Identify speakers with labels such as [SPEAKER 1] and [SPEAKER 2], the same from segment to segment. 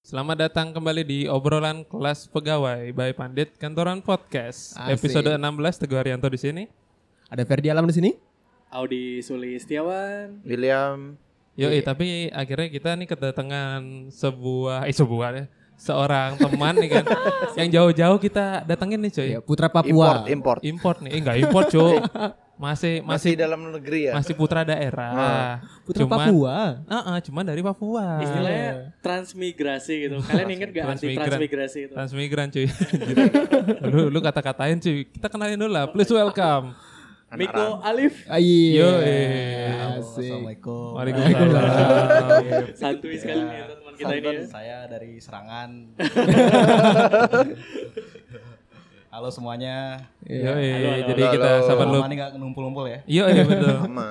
[SPEAKER 1] Selamat datang kembali di obrolan kelas pegawai by Pandit Kantoran Podcast.
[SPEAKER 2] Asik.
[SPEAKER 1] Episode 16 Teguh Haryanto di sini.
[SPEAKER 2] Ada Ferdi Alam di sini?
[SPEAKER 3] Audi Suli Setiawan.
[SPEAKER 4] William
[SPEAKER 1] Yoi, tapi akhirnya kita nih kedatangan sebuah eh sebuah ya, seorang teman nih kan yang jauh-jauh kita datengin nih cuy.
[SPEAKER 2] Ya, Putra Papua.
[SPEAKER 4] import import
[SPEAKER 3] iya,
[SPEAKER 1] Import nih, eh, enggak import cuy. Masih masih
[SPEAKER 4] masih dalam negeri ya
[SPEAKER 1] masih putra daerah.
[SPEAKER 2] Putra
[SPEAKER 1] Cuman-
[SPEAKER 2] Papua.
[SPEAKER 1] Ah, ah, cuman dari Papua.
[SPEAKER 3] Istilahnya transmigrasi gitu. Kalian inget gak anti
[SPEAKER 1] Transmigran.
[SPEAKER 3] transmigrasi itu?
[SPEAKER 1] Transmigran cuy. Gila. lu lu kata-katain cuy. Kita kenalin dulu lah. Please welcome.
[SPEAKER 3] Miko Alif.
[SPEAKER 2] Ah, iya.
[SPEAKER 1] Yo,
[SPEAKER 2] Asik.
[SPEAKER 5] Assalamualaikum.
[SPEAKER 1] Waalaikumsalam.
[SPEAKER 3] Santuy sekali nih teman kita ini. ya.
[SPEAKER 5] Saya dari serangan. Halo semuanya.
[SPEAKER 1] Yoi,
[SPEAKER 3] Halo, halo,
[SPEAKER 1] jadi
[SPEAKER 4] halo.
[SPEAKER 1] kita sabar lu.
[SPEAKER 5] Lama nih nggak numpul-numpul ya.
[SPEAKER 1] Yoi, betul.
[SPEAKER 4] sama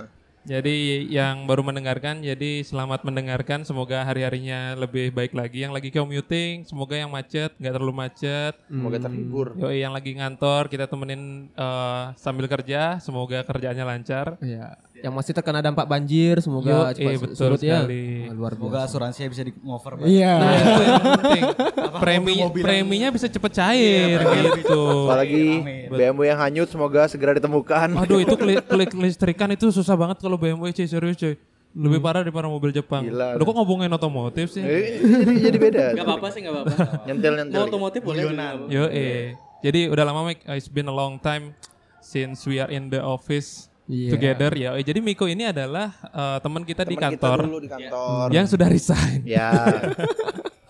[SPEAKER 1] Jadi yang baru mendengarkan, jadi selamat mendengarkan. Semoga hari-harinya lebih baik lagi. Yang lagi commuting, semoga yang macet, nggak terlalu macet.
[SPEAKER 4] semoga terhibur
[SPEAKER 3] Oh,
[SPEAKER 1] Yoi, yang lagi ngantor, kita temenin eh, sambil kerja. Semoga kerjaannya lancar.
[SPEAKER 2] Iya. Yang masih terkena dampak banjir semoga
[SPEAKER 1] Yo,
[SPEAKER 2] cepat
[SPEAKER 1] eh,
[SPEAKER 2] su-
[SPEAKER 1] betul
[SPEAKER 2] surut ya.
[SPEAKER 1] sekali.
[SPEAKER 2] Wah, luar
[SPEAKER 5] Semoga
[SPEAKER 2] biasa.
[SPEAKER 5] asuransinya bisa di cover. Pak.
[SPEAKER 2] Iya.
[SPEAKER 1] Nah, itu yang penting.
[SPEAKER 5] Apa,
[SPEAKER 1] Premi,
[SPEAKER 5] mobil-mobilan-
[SPEAKER 1] preminya bisa cepet cair gitu.
[SPEAKER 3] iya,
[SPEAKER 4] apalagi
[SPEAKER 5] Amin.
[SPEAKER 4] BMW yang hanyut semoga segera
[SPEAKER 3] Oh,
[SPEAKER 4] ditemukan
[SPEAKER 1] Aduh itu keli- keli- kelistrikan itu susah banget kalau BMW cuy serius cuy. Lebih parah daripada mobil Jepang.
[SPEAKER 4] Gila.
[SPEAKER 1] Aduh kok ngomongin otomotif sih?
[SPEAKER 3] iya,
[SPEAKER 4] Eh, jadi, jadi beda
[SPEAKER 3] Gak apa-apa sih gak apa-apa.
[SPEAKER 4] nyentil
[SPEAKER 3] Mau
[SPEAKER 4] nyentil
[SPEAKER 3] otomotif boleh. nggak apa-apa.
[SPEAKER 1] Yo eh. Jadi udah lama Mike, it's been a long time since we are in the office
[SPEAKER 2] Iya.
[SPEAKER 1] together ya. Eh, Jadi Miko ini adalah eh, teman kita di
[SPEAKER 4] Teman
[SPEAKER 1] kantor
[SPEAKER 4] kita dulu di kantor
[SPEAKER 1] yang sudah resign.
[SPEAKER 4] ya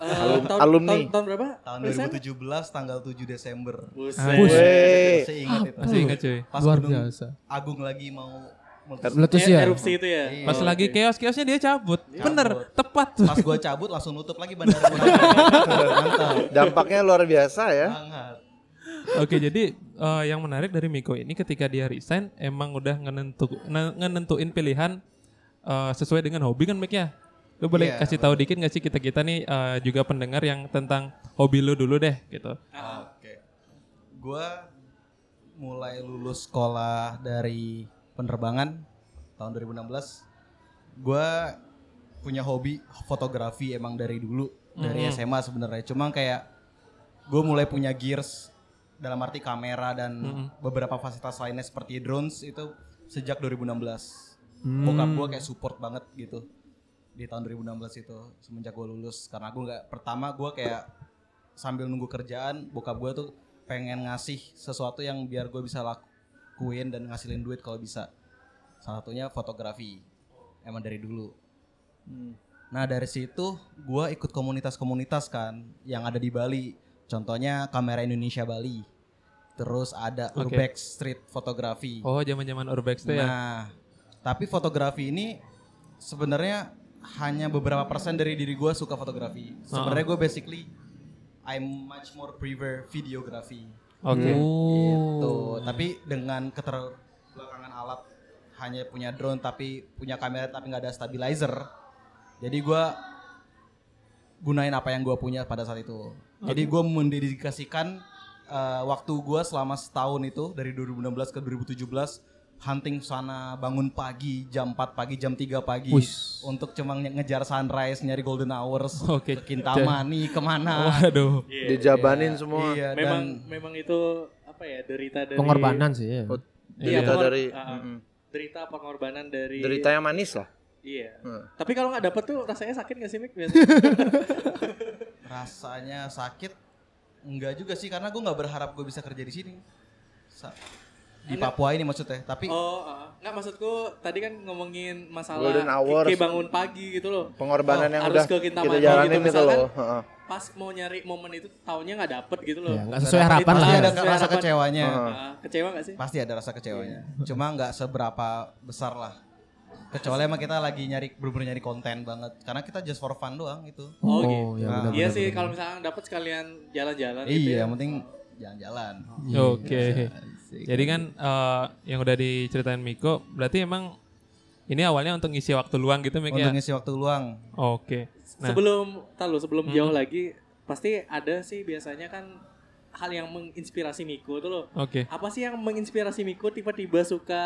[SPEAKER 3] Eh,
[SPEAKER 4] Alum-
[SPEAKER 3] tahun,
[SPEAKER 4] alumni.
[SPEAKER 3] Tahun, tahun berapa?
[SPEAKER 5] Tahun
[SPEAKER 3] Resen?
[SPEAKER 5] 2017 tanggal 7 Desember.
[SPEAKER 3] Buset.
[SPEAKER 5] iya.
[SPEAKER 4] Weh,
[SPEAKER 5] Saya ingat itu.
[SPEAKER 1] Masih ingat cuy.
[SPEAKER 5] Pas
[SPEAKER 2] Luar
[SPEAKER 5] Gunung
[SPEAKER 2] biasa.
[SPEAKER 5] Agung lagi mau meletus.
[SPEAKER 2] Meletus
[SPEAKER 3] Eh,
[SPEAKER 2] ya.
[SPEAKER 3] Erupsi itu ya.
[SPEAKER 1] Pas
[SPEAKER 3] Oh,
[SPEAKER 1] lagi
[SPEAKER 3] oke.
[SPEAKER 1] keos-keosnya dia cabut. Bener, tepat tuh.
[SPEAKER 5] Pas gua cabut langsung nutup lagi bandara. Mantap.
[SPEAKER 4] dampaknya luar biasa ya
[SPEAKER 3] Ah, iya,
[SPEAKER 5] Banget.
[SPEAKER 1] Oke, jadi eh, yang menarik dari Miko ini ketika dia resign emang udah ngenentu, ne- ngenentuin pilihan eh, sesuai dengan hobi kan Mik ya? Lu boleh kasih tahu dikit nggak sih kita-kita nih eh, juga pendengar yang tentang hobi lu dulu deh gitu.
[SPEAKER 5] Oke. Gua mulai lulus sekolah dari penerbangan tahun 2016. Gua punya hobi fotografi emang dari dulu, dari SMA sebenarnya. Cuma kayak gue mulai punya gears dalam arti kamera dan beberapa fasilitas lainnya seperti drones itu sejak 2016.
[SPEAKER 2] Hmm.
[SPEAKER 5] Bokap gue kayak support banget gitu di tahun 2016 itu semenjak gue lulus karena gue nggak pertama gue kayak sambil nunggu kerjaan bokap gue tuh pengen ngasih sesuatu yang biar gue bisa lakuin dan ngasilin duit kalau bisa salah satunya fotografi emang dari dulu Nah dari situ gue ikut komunitas-komunitas kan yang ada di Bali. Contohnya Kamera Indonesia Bali. Terus ada
[SPEAKER 1] Oke.
[SPEAKER 5] Urbex Street Fotografi.
[SPEAKER 1] Oh, zaman-zaman Urbex tuh ya.
[SPEAKER 5] Nah tapi fotografi ini sebenarnya hanya beberapa persen dari diri gue suka fotografi. Sebenarnya gue basically I'm much more prefer videography.
[SPEAKER 1] Oke.
[SPEAKER 3] Gitu.
[SPEAKER 5] Tuh, Gitu.
[SPEAKER 1] Iya.
[SPEAKER 5] tapi dengan keterbelakangan alat hanya punya drone tapi punya kamera tapi nggak ada stabilizer. Jadi gua gunain apa yang gua punya pada saat itu. Jadi gua mendedikasikan eh, waktu gua selama setahun itu dari 2016 ke 2017 hunting sana bangun pagi jam 4 pagi jam 3 pagi
[SPEAKER 2] Wis.
[SPEAKER 5] untuk cuma nge- ngejar sunrise nyari golden hours
[SPEAKER 1] Oke.
[SPEAKER 5] ke Kintamani kemana
[SPEAKER 1] Waduh.
[SPEAKER 3] Iya.
[SPEAKER 4] dijabanin semua
[SPEAKER 5] iya,
[SPEAKER 3] Memang
[SPEAKER 5] dan-
[SPEAKER 3] memang itu apa ya derita dari
[SPEAKER 2] Pengorbanan sih ya.
[SPEAKER 3] Iya,
[SPEAKER 4] Derita
[SPEAKER 3] pengor-
[SPEAKER 4] dari
[SPEAKER 3] ah, ah.
[SPEAKER 4] Mm-mm.
[SPEAKER 3] derita pengorbanan dari
[SPEAKER 4] derita yang manis lah
[SPEAKER 3] Iya.
[SPEAKER 4] Hmm.
[SPEAKER 3] Tapi kalau nggak dapet tuh rasanya sakit nggak sih Mik biasanya?
[SPEAKER 5] rasanya sakit enggak juga sih karena gue nggak berharap gue bisa kerja di sini Sa- di Papua ini maksudnya tapi
[SPEAKER 3] Oh, ah. nggak maksudku tadi kan ngomongin masalah
[SPEAKER 4] Golden hours.
[SPEAKER 3] Kiki bangun pagi gitu loh. Oh,
[SPEAKER 4] pengorbanan yang
[SPEAKER 3] harus
[SPEAKER 4] udah
[SPEAKER 3] ke
[SPEAKER 4] kita
[SPEAKER 3] Kintamani
[SPEAKER 4] jalanin
[SPEAKER 3] gitu,
[SPEAKER 4] itu
[SPEAKER 3] misalkan.
[SPEAKER 4] loh Heeh.
[SPEAKER 3] Pas mau nyari momen itu tahunnya nggak dapet gitu loh.
[SPEAKER 2] Ya, nggak sesuai harapan lah.
[SPEAKER 5] pasti ada
[SPEAKER 3] Sesuai
[SPEAKER 5] rasa
[SPEAKER 3] harapan.
[SPEAKER 5] kecewanya
[SPEAKER 3] Ah, kecewa nggak sih?
[SPEAKER 5] pasti ada rasa kecewanya cuma nggak seberapa besar lah kecuali emang kita lagi nyari bener-bener nyari konten banget karena kita just for fun doang itu
[SPEAKER 2] Oh,
[SPEAKER 3] Oh, gitu.
[SPEAKER 2] ya
[SPEAKER 3] Nah,
[SPEAKER 2] benar,
[SPEAKER 3] iya
[SPEAKER 2] benar,
[SPEAKER 3] sih kalau misalnya dapet sekalian jalan-jalan gitu
[SPEAKER 5] iya
[SPEAKER 3] ya.
[SPEAKER 5] yang penting jalan-jalan
[SPEAKER 1] Iya,
[SPEAKER 2] Iya,
[SPEAKER 1] Oke. Jadi kan eh, yang udah diceritain Miko, berarti emang ini awalnya untuk ngisi waktu luang gitu Mik ya.
[SPEAKER 5] untuk ngisi waktu luang
[SPEAKER 1] Oke. Nah,
[SPEAKER 3] Sebelum tahu sebelum jauh lagi pasti ada sih biasanya kan hal yang menginspirasi Miko tuh loh.
[SPEAKER 1] oke.
[SPEAKER 3] apa sih yang menginspirasi Miko tiba-tiba suka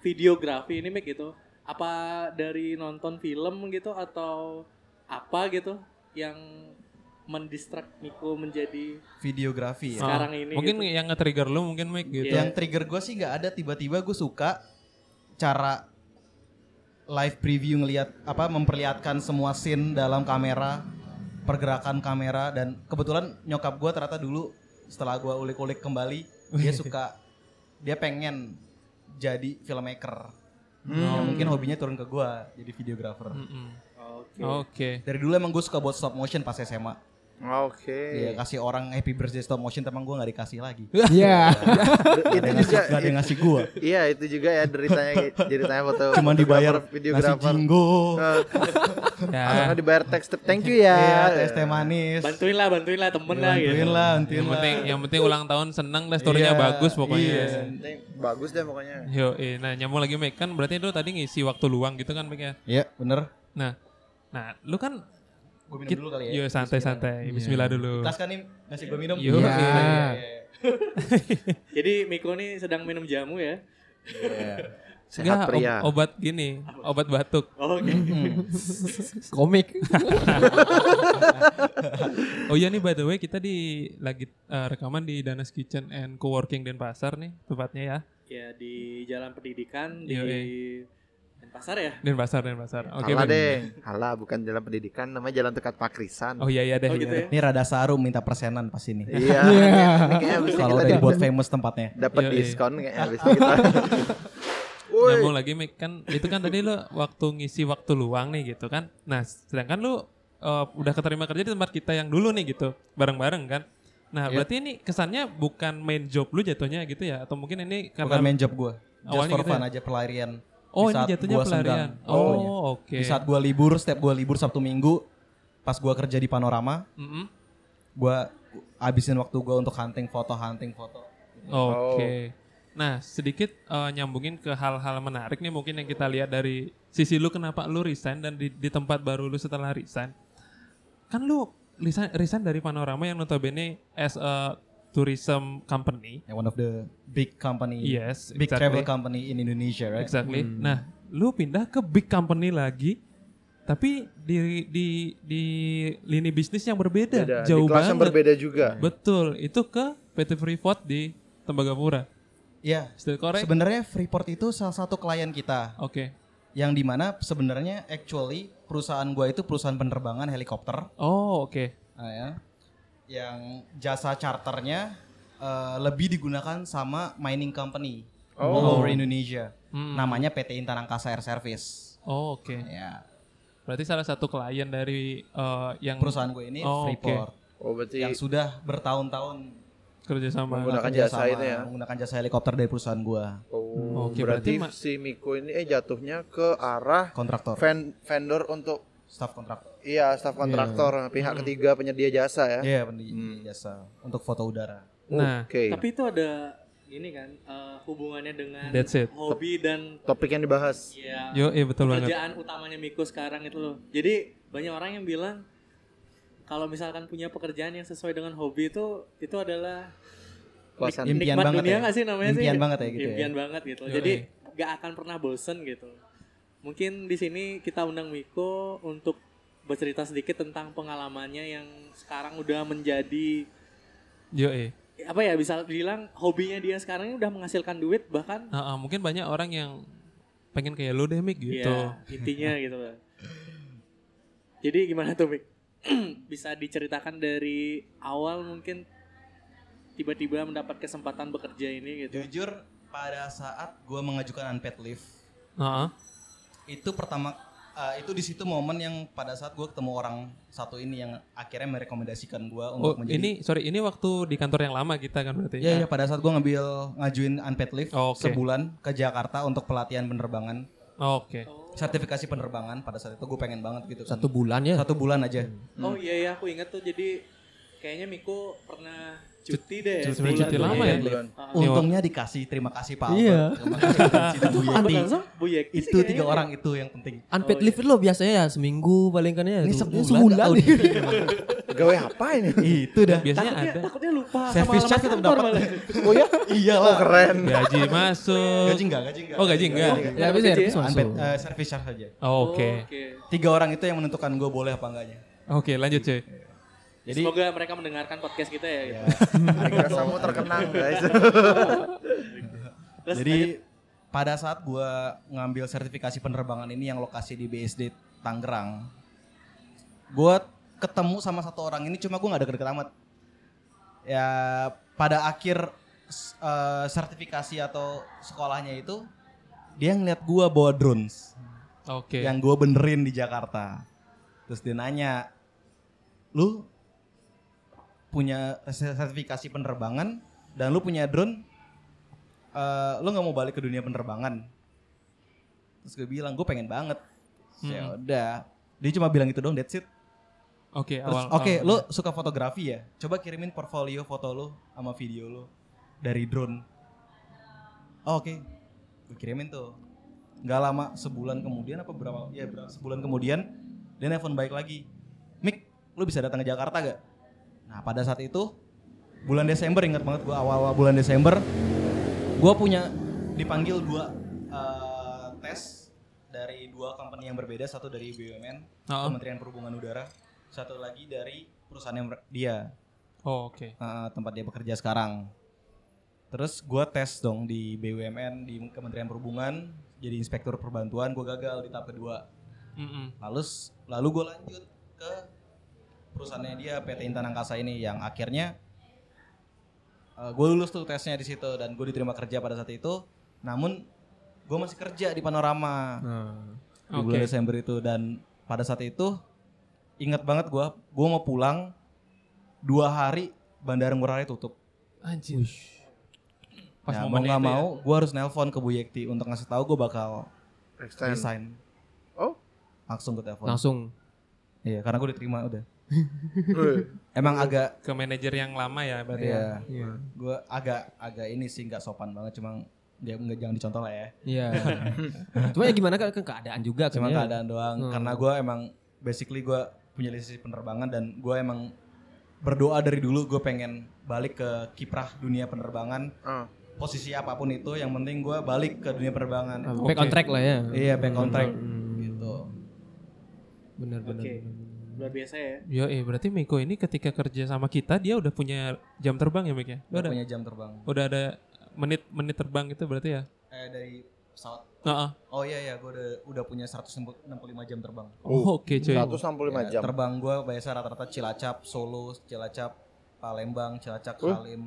[SPEAKER 3] videografi ini Mik gitu? Apa dari nonton film gitu atau apa gitu? yang mendistrak Miko menjadi
[SPEAKER 5] videografi ya.
[SPEAKER 1] Ah,
[SPEAKER 3] sekarang ini
[SPEAKER 1] mungkin
[SPEAKER 3] gitu.
[SPEAKER 1] yang nge-trigger lu mungkin Mike gitu.
[SPEAKER 3] Iya.
[SPEAKER 5] Yang trigger gue sih nggak ada tiba-tiba gue suka cara live preview ngelihat apa memperlihatkan semua scene dalam kamera, pergerakan kamera dan kebetulan nyokap gue ternyata dulu setelah gue ulik-ulik kembali dia suka dia pengen jadi filmmaker. Yang mungkin hobinya turun ke gue jadi videographer.
[SPEAKER 1] Mm-mm.
[SPEAKER 3] Oke.
[SPEAKER 1] Oke.
[SPEAKER 5] Dari dulu emang gue suka buat stop motion pas SMA.
[SPEAKER 4] Oke.
[SPEAKER 5] Iya, kasih orang happy birthday stop motion teman gue nggak dikasih lagi.
[SPEAKER 2] Iya.
[SPEAKER 5] Gak ada
[SPEAKER 4] itu
[SPEAKER 5] yang ngasih,
[SPEAKER 4] juga
[SPEAKER 5] gak ada yang ngasih gue.
[SPEAKER 4] iya itu juga ya deritanya deritanya foto
[SPEAKER 5] Cuman dibayar nasi
[SPEAKER 4] videografer
[SPEAKER 5] jinggo.
[SPEAKER 4] Eh, sama
[SPEAKER 1] Ya.
[SPEAKER 4] dibayar teks tip thank you ya
[SPEAKER 5] Iya, teh teh manis.
[SPEAKER 3] Bantuin lah, bantuin lah temen lah gitu.
[SPEAKER 5] Bantuin lah, bantuin
[SPEAKER 1] Yang
[SPEAKER 5] lah.
[SPEAKER 1] penting yang penting ulang tahun seneng lah story-nya
[SPEAKER 5] Iya,
[SPEAKER 1] Iya, bagus pokoknya.
[SPEAKER 5] iya.
[SPEAKER 4] Penting bagus deh pokoknya
[SPEAKER 1] Yo, eh, nah nyambung lagi Mike kan berarti lu tadi ngisi waktu luang gitu kan Mike ya.
[SPEAKER 5] Iya, bener.
[SPEAKER 1] Nah, nah lu kan
[SPEAKER 5] Gue minum
[SPEAKER 1] kit-
[SPEAKER 5] dulu kali ya.
[SPEAKER 3] Iya,
[SPEAKER 1] yo santai-santai bismillah dulu.
[SPEAKER 5] Kelas kan nih, ngasih gue minum.
[SPEAKER 1] Yo,
[SPEAKER 2] Iya.
[SPEAKER 1] iya, iya.
[SPEAKER 3] Jadi Miko nih sedang minum jamu ya.
[SPEAKER 1] Enggak,
[SPEAKER 4] sehat
[SPEAKER 5] ya.
[SPEAKER 4] pria
[SPEAKER 1] ob- obat gini, obat batuk.
[SPEAKER 3] Oh, Oke.
[SPEAKER 2] Komik.
[SPEAKER 1] Oh iya nih by the way kita di lagi eh, rekaman di Danas Kitchen and Coworking Denpasar nih tempatnya ya.
[SPEAKER 3] ya di Jalan Pendidikan di
[SPEAKER 1] Yoi.
[SPEAKER 3] Denpasar ya.
[SPEAKER 1] Denpasar, Denpasar. Oke.
[SPEAKER 4] Alah
[SPEAKER 1] Ben.
[SPEAKER 4] deh, alah bukan jalan pendidikan, namanya jalan dekat Pakrisan.
[SPEAKER 1] Oh iya iya deh.
[SPEAKER 3] Oh
[SPEAKER 1] iya
[SPEAKER 3] gitu
[SPEAKER 1] deh.
[SPEAKER 3] ya.
[SPEAKER 5] Ini rada sarum minta persenan pas ini.
[SPEAKER 4] Iya,
[SPEAKER 2] Iya.
[SPEAKER 4] ini kayaknya abis ini
[SPEAKER 5] Kalau
[SPEAKER 4] kita
[SPEAKER 5] udah
[SPEAKER 4] dapat
[SPEAKER 5] dibuat famous tempatnya.
[SPEAKER 4] dapat
[SPEAKER 1] Iya, iya.
[SPEAKER 4] diskon kayaknya abis ini kita. Woi,
[SPEAKER 1] Nyambung lagi Mik kan itu kan tadi lo waktu ngisi waktu luang nih gitu kan. Nah, sedangkan lu eh, udah keterima kerja di tempat kita yang dulu nih gitu, bareng-bareng kan. Nah,
[SPEAKER 5] Iya.
[SPEAKER 1] berarti ini kesannya bukan main job lu jatuhnya gitu ya atau mungkin ini
[SPEAKER 5] Bukan
[SPEAKER 1] karena
[SPEAKER 5] main job gue. Just
[SPEAKER 1] Awalnya
[SPEAKER 5] for
[SPEAKER 1] gitu
[SPEAKER 5] fun aja pelarian.
[SPEAKER 1] Oh,
[SPEAKER 5] Di
[SPEAKER 1] ini
[SPEAKER 5] saat
[SPEAKER 1] jatuhnya
[SPEAKER 5] gua senggang
[SPEAKER 1] pelarian.
[SPEAKER 5] waktunya.
[SPEAKER 1] Oh, oke.
[SPEAKER 5] Di saat gue libur, setiap gue libur Sabtu Minggu, pas gue kerja di Panorama,
[SPEAKER 1] Mm-mm.
[SPEAKER 5] gue abisin waktu gue untuk hunting foto, hunting foto.
[SPEAKER 4] Oh.
[SPEAKER 1] Oke. Nah, sedikit eh, nyambungin ke hal-hal menarik nih mungkin yang kita lihat dari sisi lu kenapa lu resign dan di, di tempat baru lu setelah resign. Kan lu resign, resign dari Panorama yang notabene as a tourism company.
[SPEAKER 5] Yeah, one of the big company,
[SPEAKER 1] Yes,
[SPEAKER 5] big
[SPEAKER 1] exactly.
[SPEAKER 5] travel company in Indonesia, right?
[SPEAKER 1] Exactly.
[SPEAKER 4] Hmm.
[SPEAKER 1] Nah, lu pindah ke big company lagi tapi di di di lini bisnis yang berbeda,
[SPEAKER 4] beda.
[SPEAKER 1] jauh
[SPEAKER 4] di kelas yang
[SPEAKER 1] banget.
[SPEAKER 4] berbeda juga.
[SPEAKER 1] Betul, itu ke PT Freeport di Tembagapura.
[SPEAKER 5] Iya.
[SPEAKER 1] Still correct? Oke.
[SPEAKER 5] Sebenarnya Freeport itu salah satu klien kita yang dimana sebenarnya actually perusahaan gua itu perusahaan penerbangan helikopter
[SPEAKER 1] Oh, oke.
[SPEAKER 5] ah, ya, yang jasa charternya eh, lebih digunakan sama mining company all over Indonesia.
[SPEAKER 1] Oh. Hmm.
[SPEAKER 5] Namanya PT Intan Angkasa Air Service.
[SPEAKER 1] Oh, oke.
[SPEAKER 5] Ya,
[SPEAKER 1] Berarti salah satu klien dari eh, yang
[SPEAKER 5] perusahaan gue ini
[SPEAKER 1] Oh, oke.
[SPEAKER 5] Freeport
[SPEAKER 4] Oh, berarti
[SPEAKER 5] yang sudah bertahun-tahun
[SPEAKER 1] kerja sama.
[SPEAKER 4] Menggunakan
[SPEAKER 5] kerja
[SPEAKER 4] jasa
[SPEAKER 5] sama-
[SPEAKER 4] itu ya?
[SPEAKER 5] menggunakan jasa helikopter dari perusahaan gua
[SPEAKER 4] oh,
[SPEAKER 1] Oke,
[SPEAKER 4] berarti,
[SPEAKER 1] berarti ma-
[SPEAKER 4] si Miko ini eh jatuhnya ke arah
[SPEAKER 5] kontraktor,
[SPEAKER 4] ven- vendor untuk
[SPEAKER 5] staff kontraktor.
[SPEAKER 4] iya staff kontraktor, pihak
[SPEAKER 1] Hmm.
[SPEAKER 4] ketiga penyedia jasa ya.
[SPEAKER 5] Iya, penyedia jasa untuk foto udara.
[SPEAKER 1] Nah,
[SPEAKER 4] Oke.
[SPEAKER 3] Tapi itu ada ini kan eh, hubungannya dengan
[SPEAKER 1] That's it.
[SPEAKER 3] hobi dan
[SPEAKER 4] Topik yang dibahas.
[SPEAKER 3] ya
[SPEAKER 1] yo, eh betul banget.
[SPEAKER 3] pekerjaan utamanya Miko sekarang itu loh. Jadi banyak orang yang bilang kalau misalkan punya pekerjaan yang sesuai dengan hobi itu itu adalah
[SPEAKER 4] Puasan.
[SPEAKER 3] nik-
[SPEAKER 5] Impian
[SPEAKER 3] nikmat
[SPEAKER 5] banget
[SPEAKER 3] dunia
[SPEAKER 5] ya.
[SPEAKER 3] nggak sih namanya sih?
[SPEAKER 5] Impian banget ya gitu ya.
[SPEAKER 3] Impian banget gitu.
[SPEAKER 1] Yoi.
[SPEAKER 3] Jadi nggak akan pernah bosen gitu. Mungkin di sini kita undang Miko untuk bercerita sedikit tentang pengalamannya yang sekarang udah menjadi
[SPEAKER 1] Yo, eh.
[SPEAKER 3] apa ya bisa bilang hobinya dia sekarang ini udah menghasilkan duit bahkan
[SPEAKER 1] Ah, ah, mungkin banyak orang yang pengen kayak lo deh, Mik, gitu.
[SPEAKER 3] ya
[SPEAKER 5] Iya.
[SPEAKER 3] intinya gitu loh. Jadi gimana tuh Mik? bisa diceritakan dari awal mungkin tiba-tiba mendapat kesempatan bekerja ini gitu.
[SPEAKER 5] Jujur, pada saat gue mengajukan unpaid leave,
[SPEAKER 1] Ah, ah.
[SPEAKER 5] itu pertama eh, itu di situ momen yang pada saat gue ketemu orang satu ini yang akhirnya merekomendasikan gue
[SPEAKER 1] Oh,
[SPEAKER 5] untuk menjadi
[SPEAKER 1] ini sorry, ini waktu di kantor yang lama kita kan berarti.
[SPEAKER 5] ya ya pada saat gue ngambil ngajuin unpaid leave
[SPEAKER 1] Oh, oke.
[SPEAKER 5] sebulan ke Jakarta untuk pelatihan penerbangan
[SPEAKER 1] Oh, Oke.
[SPEAKER 5] sertifikasi penerbangan pada saat itu gue pengen banget gitu kan.
[SPEAKER 2] Satu bulan ya.
[SPEAKER 5] Satu bulan aja
[SPEAKER 3] Oh
[SPEAKER 5] Hmm.
[SPEAKER 3] iya iya aku ingat tuh jadi kayaknya Miko pernah cuti deh.
[SPEAKER 1] cuti-
[SPEAKER 3] sebulan
[SPEAKER 1] cuti
[SPEAKER 3] tuh,
[SPEAKER 1] lama
[SPEAKER 3] iya.
[SPEAKER 1] ya?
[SPEAKER 4] Bulan.
[SPEAKER 5] untungnya dikasih terima kasih Pak Albert
[SPEAKER 2] Iya.
[SPEAKER 5] terima kasih Fransina Bu
[SPEAKER 3] Apa
[SPEAKER 5] Yeti.
[SPEAKER 3] langsung? Bu Yeki sih
[SPEAKER 5] itu tiga
[SPEAKER 3] kayaknya.
[SPEAKER 5] orang itu yang penting
[SPEAKER 2] Unpaid leave itu loh biasanya ya seminggu paling kan ya.
[SPEAKER 5] ini
[SPEAKER 2] tuh.
[SPEAKER 5] sebulan,
[SPEAKER 2] sebulan.
[SPEAKER 5] tahun ini.
[SPEAKER 4] Gawe apa ini?
[SPEAKER 5] itu dah
[SPEAKER 1] Biasanya
[SPEAKER 3] Takutnya,
[SPEAKER 1] ada
[SPEAKER 3] takutnya lupa sama
[SPEAKER 5] Service
[SPEAKER 3] alamat
[SPEAKER 5] charge tetap
[SPEAKER 3] kantor
[SPEAKER 5] dapat.
[SPEAKER 3] malah.
[SPEAKER 5] oh ya iyalah
[SPEAKER 4] Keren.
[SPEAKER 1] gaji masuk.
[SPEAKER 5] gaji enggak gaji enggak
[SPEAKER 1] Iya Oh, gaji enggak.
[SPEAKER 2] ya habis ya habis masuk.
[SPEAKER 5] Unpaid, eh, service charge aja
[SPEAKER 1] Oh, Oke.
[SPEAKER 3] Oke.
[SPEAKER 5] tiga orang itu yang menentukan gue boleh apa enggaknya
[SPEAKER 1] Oke lanjut cuy.
[SPEAKER 5] Jadi
[SPEAKER 3] Semoga mereka mendengarkan podcast kita ya. gitu.
[SPEAKER 5] ya,
[SPEAKER 1] Iya,
[SPEAKER 4] Hari kerasamu terkenang guys.
[SPEAKER 3] Terus
[SPEAKER 5] jadi pada saat gua ngambil sertifikasi penerbangan ini yang lokasi di BSD Tangerang, gua ketemu sama satu orang ini cuma gua nggak deket-deket amat. Ya pada akhir s- eh, sertifikasi atau sekolahnya itu dia ngeliat gua bawa drones
[SPEAKER 1] Oke.
[SPEAKER 5] yang gua benerin di Jakarta. Terus dia nanya, lu punya sertifikasi penerbangan dan lu punya drone, eh, lu nggak mau balik ke dunia penerbangan? Terus gue bilang gue pengen banget. Terus Ya udah, dia cuma bilang itu dong, that's it.
[SPEAKER 1] Oke
[SPEAKER 5] Terus,
[SPEAKER 1] awal.
[SPEAKER 5] Oke,
[SPEAKER 1] awal.
[SPEAKER 5] lu suka fotografi ya? Coba kirimin portfolio foto lu sama video lu dari drone. Oh, Oke, gue kirimin tuh. Gak lama sebulan kemudian apa berapa? Ya berapa sebulan kemudian dia nelfon baik lagi. Mik, lu bisa datang ke Jakarta gak? Nah pada saat itu bulan Desember ingat banget gue awal-awal bulan Desember gue punya dipanggil dua eh, tes dari dua company yang berbeda satu dari BUMN
[SPEAKER 1] Ah, ah.
[SPEAKER 5] Kementerian Perhubungan Udara, satu lagi dari perusahaannya mer- dia
[SPEAKER 1] Oh, Oke.
[SPEAKER 5] eh, tempat dia bekerja sekarang. Terus gua tes dong di BUMN di Kementerian Perhubungan jadi inspektur perbantuan, gua gagal di tahap kedua.
[SPEAKER 1] Mm-mm.
[SPEAKER 5] Lalu s- lalu gue lanjut ke perusahaannya dia PT Intan Angkasa ini yang akhirnya gue lulus tuh tesnya di situ dan gue diterima kerja pada saat itu. Namun gue masih kerja di Panorama
[SPEAKER 2] Nah.
[SPEAKER 5] di bulan
[SPEAKER 1] Oke.
[SPEAKER 5] Desember itu dan pada saat itu ingat banget gua gua mau pulang dua hari bandara Ngurah Rai tutup.
[SPEAKER 1] Anjir. Pas
[SPEAKER 5] Nah, mau
[SPEAKER 1] momennya
[SPEAKER 5] nggak
[SPEAKER 1] itu ya.
[SPEAKER 5] mau gua harus nelpon ke Bu Yekti untuk ngasih tahu gua bakal
[SPEAKER 4] Extend.
[SPEAKER 5] resign.
[SPEAKER 4] Oh.
[SPEAKER 5] Langsung ke telepon.
[SPEAKER 2] Langsung.
[SPEAKER 5] Iya, karena gua diterima udah.
[SPEAKER 4] Eh,
[SPEAKER 5] Emang agak
[SPEAKER 1] ke manajer yang lama ya berarti ya.
[SPEAKER 5] iya,
[SPEAKER 2] Iya.
[SPEAKER 5] gua agak agak ini sih nggak sopan banget cuma dia nggak jangan dicontoh lah ya.
[SPEAKER 2] Iya. Cuma ya gimana kan kan keadaan juga kan.
[SPEAKER 5] Cuma
[SPEAKER 2] ya.
[SPEAKER 5] keadaan doang
[SPEAKER 2] Hmm.
[SPEAKER 5] karena gua emang basically gua punya lisensi penerbangan dan gua emang berdoa dari dulu gue pengen balik ke kiprah dunia penerbangan
[SPEAKER 4] ah.
[SPEAKER 5] posisi apapun itu yang penting gue balik ke dunia penerbangan
[SPEAKER 2] Back on
[SPEAKER 1] Oke.
[SPEAKER 2] track lah ya.
[SPEAKER 5] iya back on track
[SPEAKER 2] Hmm.
[SPEAKER 5] gitu
[SPEAKER 2] Bener bener.
[SPEAKER 3] Oke.
[SPEAKER 2] bener, bener.
[SPEAKER 3] luar biasa ya.
[SPEAKER 1] Yo, eh berarti Miko ini ketika kerja sama kita dia udah punya jam terbang ya Mik ya? Udah
[SPEAKER 5] udah
[SPEAKER 1] ada,
[SPEAKER 5] punya jam terbang
[SPEAKER 1] udah ada menit menit terbang gitu berarti ya?
[SPEAKER 5] eh dari pesawat
[SPEAKER 1] Heeh.
[SPEAKER 5] oh iya iya gue udah udah punya 165 jam terbang
[SPEAKER 1] Oh, Oke cuy.
[SPEAKER 4] 165
[SPEAKER 5] Ya,
[SPEAKER 4] jam.
[SPEAKER 5] terbang gue biasa rata-rata Cilacap Solo Cilacap Palembang Cilacap
[SPEAKER 4] Uh.
[SPEAKER 5] Salim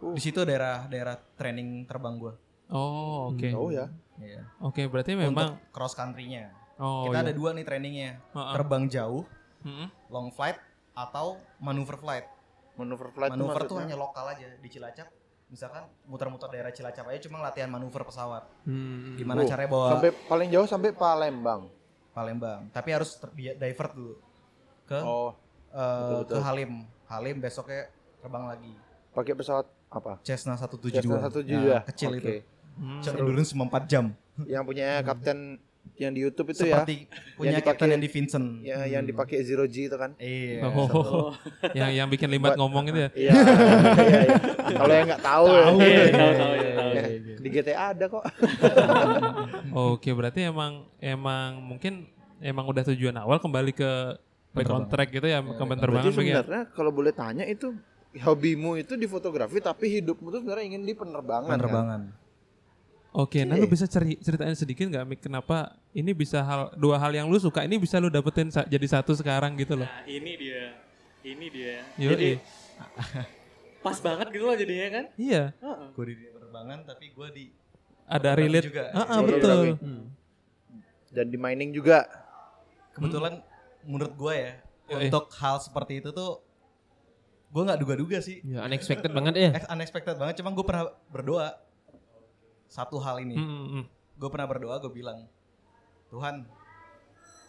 [SPEAKER 4] Uh.
[SPEAKER 5] di situ daerah daerah training terbang gue
[SPEAKER 1] Oh oke.
[SPEAKER 4] Oh ya.
[SPEAKER 5] Iya.
[SPEAKER 1] Oke berarti
[SPEAKER 5] untuk
[SPEAKER 1] memang.
[SPEAKER 5] cross country-nya
[SPEAKER 1] oh iya.
[SPEAKER 5] kita
[SPEAKER 1] Hmm.
[SPEAKER 5] ada dua nih trainingnya
[SPEAKER 1] Heeh.
[SPEAKER 5] terbang jauh
[SPEAKER 1] Mm-mm.
[SPEAKER 5] long flight atau manuver flight
[SPEAKER 4] Manuver flight itu
[SPEAKER 5] manuver tuh
[SPEAKER 4] maksudnya.
[SPEAKER 5] hanya lokal aja di Cilacap misalkan muter-muter daerah Cilacap aja cuma latihan manuver pesawat
[SPEAKER 1] Hmm.
[SPEAKER 5] gimana
[SPEAKER 4] Oh,
[SPEAKER 5] caranya bawa
[SPEAKER 4] Sampai paling jauh sampai Palembang.
[SPEAKER 5] Palembang tapi harus ter- bi- divert dulu ke
[SPEAKER 4] Oh,
[SPEAKER 5] eh,
[SPEAKER 4] betul-betul.
[SPEAKER 5] ke Halim Halim besoknya terbang lagi
[SPEAKER 4] pakai pesawat apa?
[SPEAKER 5] Cessna 172
[SPEAKER 4] Cessna 172.
[SPEAKER 5] Nah, kecil
[SPEAKER 4] ya? Oke.
[SPEAKER 5] itu
[SPEAKER 1] Hmm.
[SPEAKER 5] Cuma endurance cuma 4 jam
[SPEAKER 4] Yang punya kapten yang di YouTube itu ya.
[SPEAKER 5] seperti Hmm. punya
[SPEAKER 4] Yang dipakai-
[SPEAKER 5] kapten yang di Vincent
[SPEAKER 4] Ya, yang dipakai Zero G itu kan.
[SPEAKER 5] iya
[SPEAKER 1] Oh,
[SPEAKER 5] satu-
[SPEAKER 1] oh, yang yang bikin limbat
[SPEAKER 4] Buat-
[SPEAKER 1] ngomong itu ya.
[SPEAKER 4] Iya. iya, iya. Kalau yang nggak tahu, ya.
[SPEAKER 3] Iya, tahu tahu ya, tahu.
[SPEAKER 4] Ya,
[SPEAKER 5] iya.
[SPEAKER 4] Di GTA ada kok.
[SPEAKER 1] Oke berarti emang emang mungkin emang udah tujuan awal kembali ke back on
[SPEAKER 5] Penerbangan.
[SPEAKER 1] track gitu ya, ke
[SPEAKER 5] iya.
[SPEAKER 1] penerbangan Mik,
[SPEAKER 4] Berarti
[SPEAKER 1] ya.
[SPEAKER 4] sebenarnya kalau boleh tanya itu hobimu itu di fotografi tapi hidupmu tuh sebenarnya ingin di penerbangan. kan?
[SPEAKER 5] penerbangan
[SPEAKER 1] Oke, nah lu
[SPEAKER 4] Oke.
[SPEAKER 1] bisa ceri- ceritain sedikit nggak Mik kenapa ini bisa hal dua hal yang lu suka ini bisa lu dapetin sa- jadi satu sekarang gitu loh.
[SPEAKER 3] Nah, ini dia. Ini dia.
[SPEAKER 1] Yoi.
[SPEAKER 3] Jadi pas banget gitu loh jadinya kan.
[SPEAKER 1] Iya,
[SPEAKER 3] Heeh.
[SPEAKER 5] gue di dunia penerbangan tapi gue di
[SPEAKER 1] ada relate.
[SPEAKER 5] juga.
[SPEAKER 1] Ah, ah,
[SPEAKER 4] Iya,
[SPEAKER 1] betul.
[SPEAKER 4] tapi- kan? Dan di mining juga.
[SPEAKER 5] kebetulan menurut gue ya
[SPEAKER 1] Yoi.
[SPEAKER 5] untuk hal seperti itu tuh gue nggak duga-duga sih
[SPEAKER 2] Ya unexpected banget ya.
[SPEAKER 5] Ex- unexpected banget cuma gue pernah berdoa satu hal ini
[SPEAKER 1] Mm, mm, mm.
[SPEAKER 5] gue pernah berdoa gue bilang Tuhan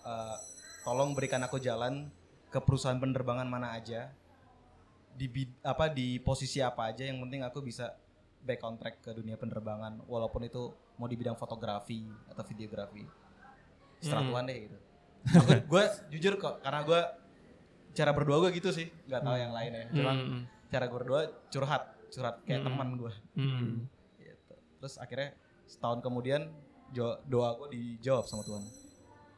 [SPEAKER 5] eh, tolong berikan aku jalan ke perusahaan penerbangan mana aja di bid- apa di posisi apa aja yang penting aku bisa back on track ke dunia penerbangan walaupun itu mau di bidang fotografi atau videografi setelah
[SPEAKER 1] Hmm.
[SPEAKER 5] Tuhan deh gitu gue jujur kok karena gue cara berdoa gue gitu sih nggak tahu yang lain ya cuman
[SPEAKER 1] Mm, mm,
[SPEAKER 5] cara gue berdoa curhat curhat kayak
[SPEAKER 1] Hmm.
[SPEAKER 5] teman gue
[SPEAKER 1] mm.
[SPEAKER 5] Gitu. Terus akhirnya setahun kemudian jo- doa gue dijawab sama Tuhan.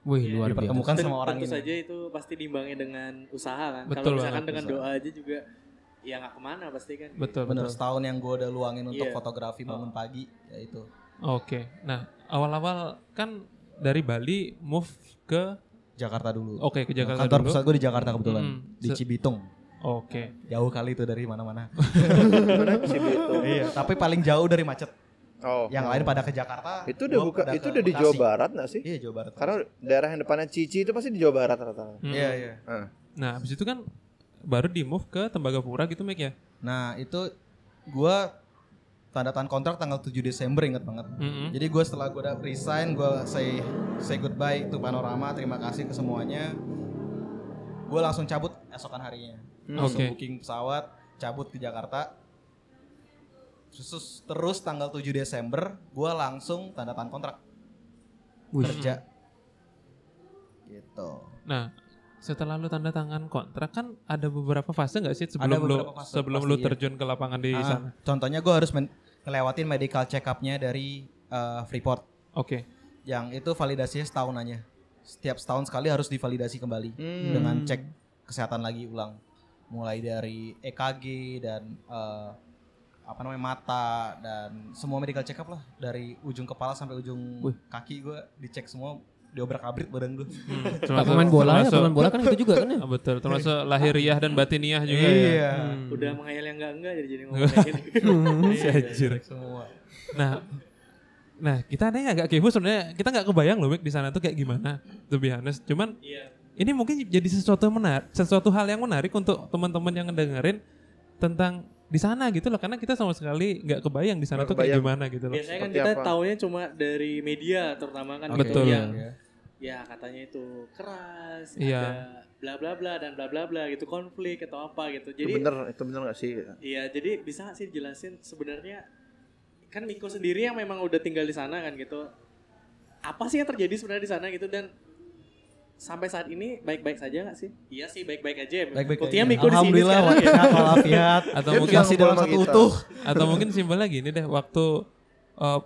[SPEAKER 2] Wih,
[SPEAKER 3] Iya,
[SPEAKER 2] luar biasa.
[SPEAKER 5] dipertemukan sama orang
[SPEAKER 3] tentu
[SPEAKER 5] ini.
[SPEAKER 3] saja itu pasti diimbangi dengan usaha kan.
[SPEAKER 1] Betul
[SPEAKER 3] Kalau misalkan
[SPEAKER 1] banget,
[SPEAKER 3] dengan
[SPEAKER 1] usaha.
[SPEAKER 3] doa aja juga ya nggak kemana pasti kan.
[SPEAKER 1] Betul,
[SPEAKER 5] Bener
[SPEAKER 1] betul.
[SPEAKER 5] setahun yang gue udah luangin untuk
[SPEAKER 3] Iya.
[SPEAKER 5] fotografi bangun
[SPEAKER 3] Oh.
[SPEAKER 5] pagi ya itu.
[SPEAKER 1] Oke. Nah, awal-awal kan dari Bali move ke
[SPEAKER 5] Jakarta dulu.
[SPEAKER 1] oke Oh, ke Jakarta
[SPEAKER 5] Kantor
[SPEAKER 1] dulu.
[SPEAKER 5] pusat gue di Jakarta kebetulan.
[SPEAKER 1] Mm,
[SPEAKER 5] Di
[SPEAKER 1] se-
[SPEAKER 5] Cibitung.
[SPEAKER 1] Oke.
[SPEAKER 5] Jauh kali itu dari mana-mana.
[SPEAKER 4] Cibitung.
[SPEAKER 5] iya, tapi paling jauh dari macet.
[SPEAKER 4] Oh.
[SPEAKER 5] Yang lain pada ke Jakarta.
[SPEAKER 4] Itu udah
[SPEAKER 5] gua
[SPEAKER 4] buka
[SPEAKER 5] pada
[SPEAKER 4] itu
[SPEAKER 5] ke
[SPEAKER 4] udah di
[SPEAKER 5] Bekasi.
[SPEAKER 4] Jawa Barat nggak sih?
[SPEAKER 5] Iya, Jawa Barat.
[SPEAKER 4] Karena daerah yang depannya Cici itu pasti di Jawa Barat rata-rata.
[SPEAKER 1] Mm.
[SPEAKER 5] Iya, iya.
[SPEAKER 1] Nah, habis itu kan baru di move ke Tembagapura gitu, Mek ya.
[SPEAKER 5] Nah, itu gua tanda tangan kontrak tanggal 7 Desember inget banget.
[SPEAKER 1] Mm-mm.
[SPEAKER 5] Jadi gue setelah gue udah resign, gue say say goodbye to Panorama, terima kasih ke semuanya. Gue langsung cabut esokan harinya.
[SPEAKER 1] Oke.
[SPEAKER 5] Langsung booking pesawat, cabut ke Jakarta. Terus, terus tanggal 7 Desember, gue langsung tanda tangan kontrak
[SPEAKER 2] Wih.
[SPEAKER 5] kerja. Gitu.
[SPEAKER 1] Nah, setelah lu tanda tangan kontrak kan ada beberapa fase nggak sih sebelum
[SPEAKER 5] Ada
[SPEAKER 1] lu
[SPEAKER 5] beberapa fase,
[SPEAKER 1] sebelum lu
[SPEAKER 5] pastinya.
[SPEAKER 1] terjun ke lapangan di
[SPEAKER 5] Ah,
[SPEAKER 1] sana?
[SPEAKER 5] contohnya gue harus men- ngelewatin medical check up-nya dari eh, Freeport.
[SPEAKER 1] Oke.
[SPEAKER 5] Yang itu validasinya setahun aja. Setiap setahun sekali harus divalidasi kembali.
[SPEAKER 4] Hmm.
[SPEAKER 5] dengan cek kesehatan lagi ulang mulai dari EKG dan eh, apa namanya mata dan semua medical check up lah dari ujung kepala sampai ujung
[SPEAKER 2] Wih.
[SPEAKER 5] kaki gue dicek semua diobrak abrik badan gue
[SPEAKER 1] Hmm,
[SPEAKER 2] Nah,
[SPEAKER 1] termasuk-
[SPEAKER 2] pemain bola ya,
[SPEAKER 1] termasuk-
[SPEAKER 2] pemain bola kan itu juga kan ya.
[SPEAKER 1] Ah, betul, termasuk lahiriah dan batiniah juga ya.
[SPEAKER 5] Iya.
[SPEAKER 1] Hmm.
[SPEAKER 3] Udah menghayal yang enggak enggak jadi jadi ngomong kayak gitu. gini.
[SPEAKER 5] Iya,
[SPEAKER 1] Si Hmm, anjir.
[SPEAKER 5] semua
[SPEAKER 1] Nah, nah kita ada yang agak kepo sebenarnya kita nggak kebayang loh Mik, di sana tuh kayak gimana to be honest. Cuman
[SPEAKER 3] Iya.
[SPEAKER 1] ini mungkin jadi sesuatu menarik, sesuatu hal yang menarik untuk teman-teman yang ngedengerin tentang di sana gitu loh karena kita sama sekali nggak kebayang di sana
[SPEAKER 4] Nggak
[SPEAKER 1] tuh kayak
[SPEAKER 4] kebayang. Iya.
[SPEAKER 1] gimana gitu loh.
[SPEAKER 3] Biasanya kan
[SPEAKER 4] Seperti
[SPEAKER 3] kita
[SPEAKER 4] apa?
[SPEAKER 3] taunya cuma dari media terutama kan
[SPEAKER 1] Oke.
[SPEAKER 3] gitu
[SPEAKER 1] Betul.
[SPEAKER 3] yang ya katanya itu keras,
[SPEAKER 1] Iya.
[SPEAKER 3] ada bla bla bla dan bla bla bla gitu konflik atau apa gitu.
[SPEAKER 4] Itu
[SPEAKER 3] Jadi
[SPEAKER 4] bener, itu bener gak sih?
[SPEAKER 3] Iya, jadi bisa nggak sih jelasin sebenarnya kan Miko sendiri yang memang udah tinggal di sana kan gitu. Apa sih yang terjadi sebenarnya di sana gitu dan sampai saat ini baik-baik saja nggak sih? Iya sih baik-baik aja.
[SPEAKER 5] Baik-baik
[SPEAKER 3] Buktinya
[SPEAKER 5] aja.
[SPEAKER 3] Miko di sini
[SPEAKER 5] alhamdulillah
[SPEAKER 3] sekarang ya.
[SPEAKER 5] sehat walafiat
[SPEAKER 1] Atau
[SPEAKER 4] Iya. Dia
[SPEAKER 1] mungkin
[SPEAKER 4] bilang gitu. ngumpul
[SPEAKER 5] masih dalam
[SPEAKER 4] sama
[SPEAKER 5] satu
[SPEAKER 4] kita.
[SPEAKER 5] utuh
[SPEAKER 1] atau mungkin simpelnya gini deh waktu eh,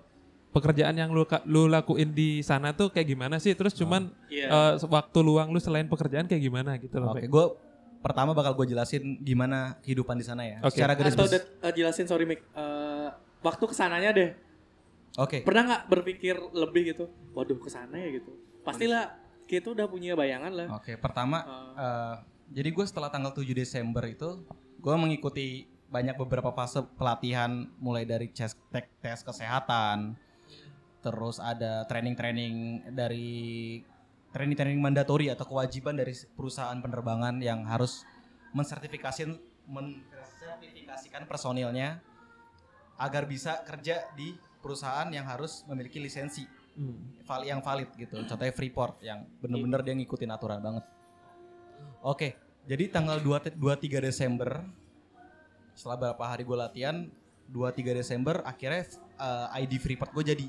[SPEAKER 1] pekerjaan yang lu ka- lu lakuin di sana tuh kayak gimana sih? Terus cuman
[SPEAKER 3] Iya.
[SPEAKER 1] eh, waktu luang lu selain pekerjaan kayak gimana gitu loh.
[SPEAKER 5] oke
[SPEAKER 1] Mik.
[SPEAKER 5] gue pertama bakal gue jelasin gimana kehidupan di sana ya
[SPEAKER 1] Oke.
[SPEAKER 5] secara garis
[SPEAKER 3] Atau
[SPEAKER 5] besar
[SPEAKER 3] dat- eh, jelasin sorry Mik, eh, waktu kesananya deh.
[SPEAKER 5] oke
[SPEAKER 3] Pernah nggak berpikir lebih gitu? Waduh kesana ya gitu. Pastilah kita udah punya bayangan lah.
[SPEAKER 5] oke pertama
[SPEAKER 3] Eh,
[SPEAKER 5] Eh, jadi gue setelah tanggal 7 Desember itu, gue mengikuti banyak beberapa fase pelatihan mulai dari tes, tes- tes kesehatan, terus ada training-training dari training-training mandatori atau kewajiban dari perusahaan penerbangan yang harus mensertifikasi mensertifikasikan personilnya agar bisa kerja di perusahaan yang harus memiliki lisensi
[SPEAKER 1] Hmm.
[SPEAKER 5] val- yang valid gitu. Contohnya Freeport yang bener-bener dia ngikutin aturan banget. Oke, jadi tanggal 2 te- 23 Desember setelah beberapa hari gue latihan, 23 Desember akhirnya eh, ID Freeport gue jadi.